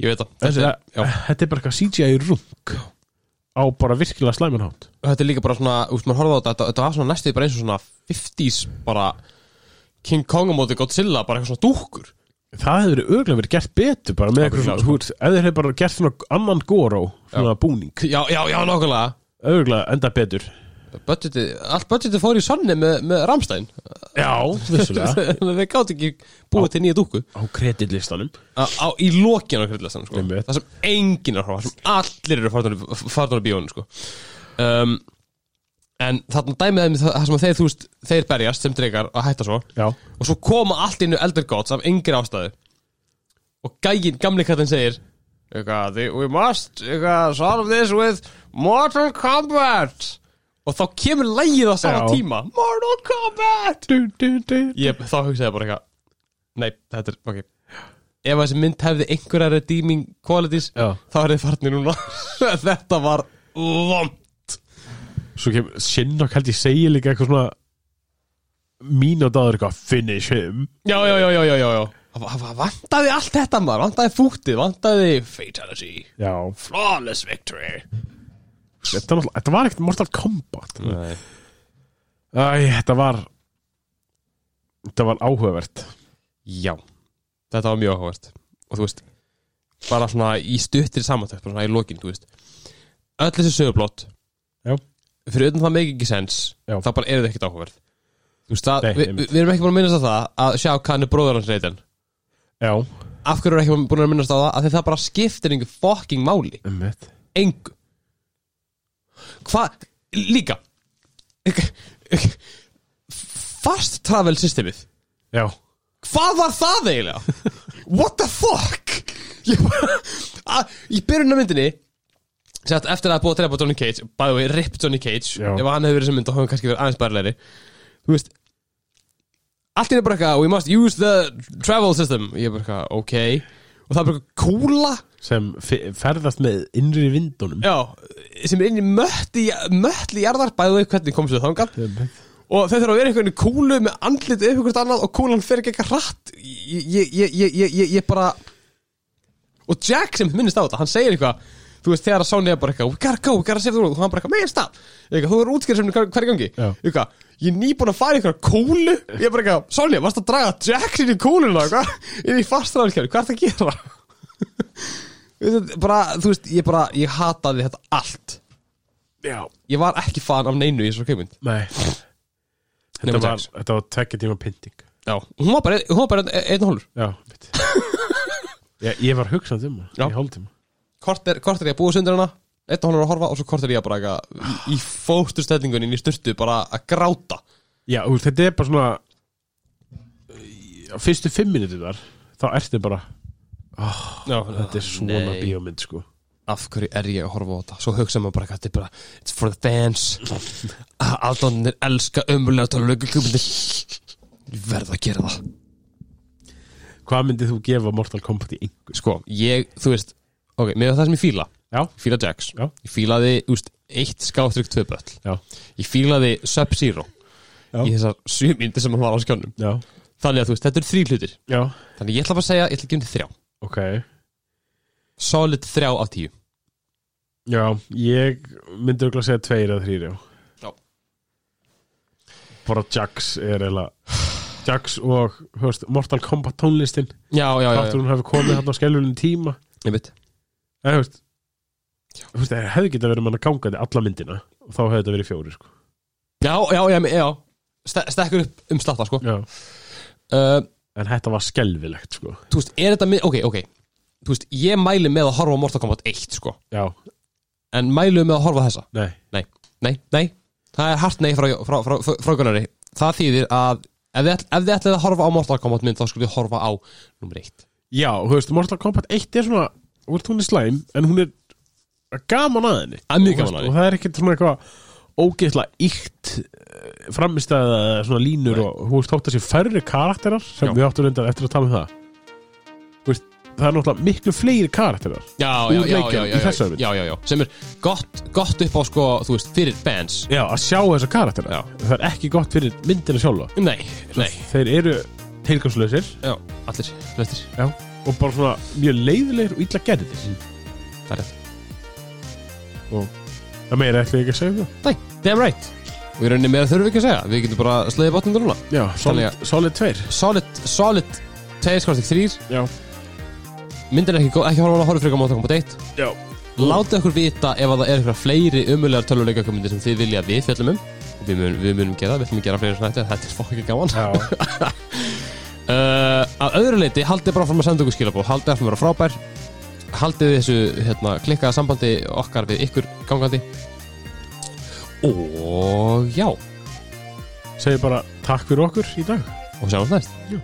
[SPEAKER 1] Ég veit það
[SPEAKER 2] Þessi,
[SPEAKER 1] Þetta er- já.
[SPEAKER 2] þetta er bara eitthvað CGI rung á bara virkilega slæminhátt
[SPEAKER 1] þetta er líka bara svona, úst, maður horfði á þetta, þetta var svona næstuði bara eins og svona 50s bara King Kong á móti Godzilla, bara eitthvað svona dúkkur.
[SPEAKER 2] það hefur örgulega verið gert betur bara með
[SPEAKER 1] Já,
[SPEAKER 2] eitthvað svona,
[SPEAKER 1] sko.
[SPEAKER 2] sko. ef þeir hefur bara gert svona annan goró svona búning,
[SPEAKER 1] Já, já, já, nákvæmlega.
[SPEAKER 2] örgulega enda betur
[SPEAKER 1] Budgetið, allt budgetið fór í sonni með, með Ramstein.
[SPEAKER 2] já, vissulega
[SPEAKER 1] Þeir gátt ekki búið til nýja dúkku.
[SPEAKER 2] á kreditlistanum
[SPEAKER 1] Á, á, í lokinu á kreddlæstan, sko.
[SPEAKER 2] Einmitt.
[SPEAKER 1] Það sem enginn er að horfa, það sem allir eru farnar í- farnar á bíónu, sko. Um, en þarna dæmið þeim það það sem að þeir, þú veist, þeir berjast sem dregar að hætta svo.
[SPEAKER 2] já,
[SPEAKER 1] og svo koma allt innu Elder Gods af yngri ástæðu og gægin, gamli kallinn segir eitthvað, "The- we must eitthvað, solve this with Mortal Kombat og þá kemur lægið á sama
[SPEAKER 2] Já.
[SPEAKER 1] tíma Mortal Kombat
[SPEAKER 2] du, du, du.
[SPEAKER 1] ég, þá hugsaði ég bara eitthvað nei, þetta er, ok ef þessi mynd hefði einhverja redeeming qualities
[SPEAKER 2] Já.
[SPEAKER 1] þá er þið farnir núna þetta var vond
[SPEAKER 2] svo kemur Shinnok held ég segi líka eitthvað svona mínútaður eitthvað finish him
[SPEAKER 1] já, já, já, já, já, já, já. Það- það vantaði allt þetta maður, vantaði fútið, vantaði fatality
[SPEAKER 2] já
[SPEAKER 1] Flawless victory
[SPEAKER 2] þetta, var náttúrulega- þetta var ekkert Mortal Kombat
[SPEAKER 1] Nei.
[SPEAKER 2] Æ, þetta var þetta var áhugavert
[SPEAKER 1] Já, þetta var mjög áhugavert Og þú veist, bara svona í stuttir samantækt, bara svona í lokin, þú veist Öll þessi sögublott
[SPEAKER 2] Já.
[SPEAKER 1] Fyrir utan það make ekki sens
[SPEAKER 2] Já.
[SPEAKER 1] Það bara er þetta ekkert áhugavert Þú veist það,
[SPEAKER 2] Nei,
[SPEAKER 1] við vi,
[SPEAKER 2] einmitt.
[SPEAKER 1] vi erum ekki búin að minnast á það að sjá hann er bróður hans reytan
[SPEAKER 2] Já,
[SPEAKER 1] Af hverju erum við ekki búin að minnast á það að því það bara skiptir engu fucking máli
[SPEAKER 2] um mitt
[SPEAKER 1] Engu Hvað, líka Fast travel systemið
[SPEAKER 2] Já,
[SPEAKER 1] Hvað var það eiginlega? What the fuck? Ég bara að, Í byrjun af myndinni Sett eftir að það er búið að drepa Johnny Cage By the way, rip Johnny Cage
[SPEAKER 2] Já.
[SPEAKER 1] Ef hann hefði verið sem mynd þá hefði hann kannski verið aðeins bærilegri Þú veist Allt er bara eitthvað We must use the travel system Ég er bara eitthvað, ok Og það er bara eitthvað kúla
[SPEAKER 2] sem fe- ferðast með innri vindunum
[SPEAKER 1] Já, sem er inn í mötli Mötli jarðar By the way, hvernig komst þau þangað
[SPEAKER 2] Einmitt.
[SPEAKER 1] og þau þurfa að vera einhvern kúlu með andlit upp einhvert annað og kúlan fer ekki eitthvað hratt ég, ég, ég, ég, ég, ég, ég bara og Jack sem minnist á þetta hann segir eitthvað þú veist þegar að Sony er bara eitthvað we gotta go, we gotta save the world og hann bara eitthvað megin stað eitthvað, þú er útskýrð sem hver gangi
[SPEAKER 2] Já.
[SPEAKER 1] eitthvað, ég er nýbúin að fara í eitthvað kúlu ég er bara eitthvað, Sony, varst að draga Jack sinni í kúluna eitthvað inn í fastraðalskjöru, hvað er það að gera Þú veist, bara, þú veist, ég bara ég hataði þetta allt
[SPEAKER 2] Já,
[SPEAKER 1] ég var ekki fan af neinu í þessu kveikmynd
[SPEAKER 2] nei Þetta
[SPEAKER 1] Nema
[SPEAKER 2] var,
[SPEAKER 1] Jax.
[SPEAKER 2] þetta var tekja tíma pynting
[SPEAKER 1] Já, hún var bara, hún var bara einn- einn og hálfur
[SPEAKER 2] Já, mitt Ég, ég var hugsað um
[SPEAKER 1] Já.
[SPEAKER 2] það í hálftíma
[SPEAKER 1] kort er, kort er ég að búa sundir hana eitt og hann er að horfa og svo kort er ég að bara eitthvað í fósturstellingunni inn í styrtu bara að gráta
[SPEAKER 2] Já, og þetta er bara svona eh, á fyrstu fimm minútið þar þá ertu bara, ah,
[SPEAKER 1] Já,
[SPEAKER 2] þetta er svona
[SPEAKER 1] nei.
[SPEAKER 2] bíómynd sko
[SPEAKER 1] af hverju er ég að horfa á þetta svo hugsa maður bara eitthvað, þetta er bara it's for the fans aldónir elska ömulega tölulega kjúmyndir um ég verð að gera það
[SPEAKER 2] Hvað myndið þú gefa Mortal Kombat í einhver?
[SPEAKER 1] sko, ég, þú veist ok, með það sem ég fíla,
[SPEAKER 2] Já,
[SPEAKER 1] ég fíla Jax
[SPEAKER 2] Já.
[SPEAKER 1] ég fílaði, úst, eitt skáttrykt tvö böll
[SPEAKER 2] já,
[SPEAKER 1] ég fílaði Sub-Zero
[SPEAKER 2] Já.
[SPEAKER 1] í þessar sjömyndi sem hann var á skjónum
[SPEAKER 2] já,
[SPEAKER 1] þannig að þú veist, þetta eru þrý hlutir
[SPEAKER 2] já
[SPEAKER 1] Þannig ég ætla bara að segja, ég ætla að gefa þetta þrjá
[SPEAKER 2] Ok,
[SPEAKER 1] Solid þrjá af tíu
[SPEAKER 2] já, ég myndi örugglega að segja tveir eða þrýr, já
[SPEAKER 1] Já.
[SPEAKER 2] Bara Jax er eða Jax og, höfst, Mortal Kombat tónlistin
[SPEAKER 1] Já, já, já,
[SPEAKER 2] Þáttur
[SPEAKER 1] já.
[SPEAKER 2] hún hefur komið hann á skelvulinn tíma
[SPEAKER 1] Ég veit
[SPEAKER 2] En, höfst, höfst, það hefði getað verið mann að ganga þetta alla myndina og þá hefði þetta verið fjóri, sko
[SPEAKER 1] Já, já, já, já Ste Stekkur upp um slatta, sko
[SPEAKER 2] Já
[SPEAKER 1] uh,
[SPEAKER 2] En þetta var skelvilegt, sko
[SPEAKER 1] Þú veist, er þetta mið, ok, ok Þú veist, ég mæli með að horfa á Mortal Kombat 1, sko
[SPEAKER 2] Já,
[SPEAKER 1] En mælu með að horfa á þessa
[SPEAKER 2] nei,
[SPEAKER 1] Nei, nei, nei Það er hart nei frá, frá, frá, frá, frá Gunnari Það þýðir að ef þið, ætl- ef þið ætlið að horfa á Mortal Kombat mynd þá skulle þið horfa á nummer 1
[SPEAKER 2] já, höfst, Mortal Kombat 1 er svona, þú veist, hún er slæm en hún er gaman að henni
[SPEAKER 1] Það er mjög gaman að
[SPEAKER 2] og
[SPEAKER 1] því
[SPEAKER 2] það er ekkert svona eitthvað ógeðslega íkt framistæða eða svona línur
[SPEAKER 1] Nei.
[SPEAKER 2] og hún veist þótt að sé færri karakterar sem
[SPEAKER 1] Já.
[SPEAKER 2] við áttum reyndar eftir að tala um það Þú veist, það er náttúrulega miklu fleiri karakterar
[SPEAKER 1] Já,
[SPEAKER 2] Úr
[SPEAKER 1] já, já,
[SPEAKER 2] leikjum
[SPEAKER 1] já,
[SPEAKER 2] í
[SPEAKER 1] já, já,
[SPEAKER 2] þessari mynd.
[SPEAKER 1] já, já, já Sem er gott, gott upp á, sko, þú veist, fyrir fans
[SPEAKER 2] já, að sjá þessa karakterar
[SPEAKER 1] Já.
[SPEAKER 2] það er ekki gott fyrir myndina sjálfa
[SPEAKER 1] Nei, nei
[SPEAKER 2] þeir eru tilgangslösir
[SPEAKER 1] Já, allir, flestir
[SPEAKER 2] já. Mm. og bara svona mjög leiðilegir og illa gerðir
[SPEAKER 1] Það er rétt
[SPEAKER 2] og það meira ætla ég ekki að segja um það
[SPEAKER 1] Nei, damn right Og í rauninni meira þurfum við ekki að segja Við getum bara sleiðið bátnum núna
[SPEAKER 2] já,
[SPEAKER 1] Þannig
[SPEAKER 2] solid, solid tveir
[SPEAKER 1] Solid, solid 2.3
[SPEAKER 2] já,
[SPEAKER 1] Myndin er ekki góð, ekki horfa á hana horfa fyrir að móta koma deitt
[SPEAKER 2] já,
[SPEAKER 1] Látið okkur vita ef að það er eitthvað fleiri umulegar töluleika komundir sem þið vilja að við fjöllum um Og við munum, við munum gera, það, við ætlum að gera fleiri svona þetta Þetta er fokkin gaman
[SPEAKER 2] já.
[SPEAKER 1] uh, Að öðru leiti, haldið bara fram að senda okkur skilabóð Haldið að vera frábær Haldið þessu hérna, klikkaða sambandi okkar við ykkur gangandi Og já
[SPEAKER 2] segir bara takk fyrir okkur í dag
[SPEAKER 1] Og sjáum næst
[SPEAKER 2] Jú.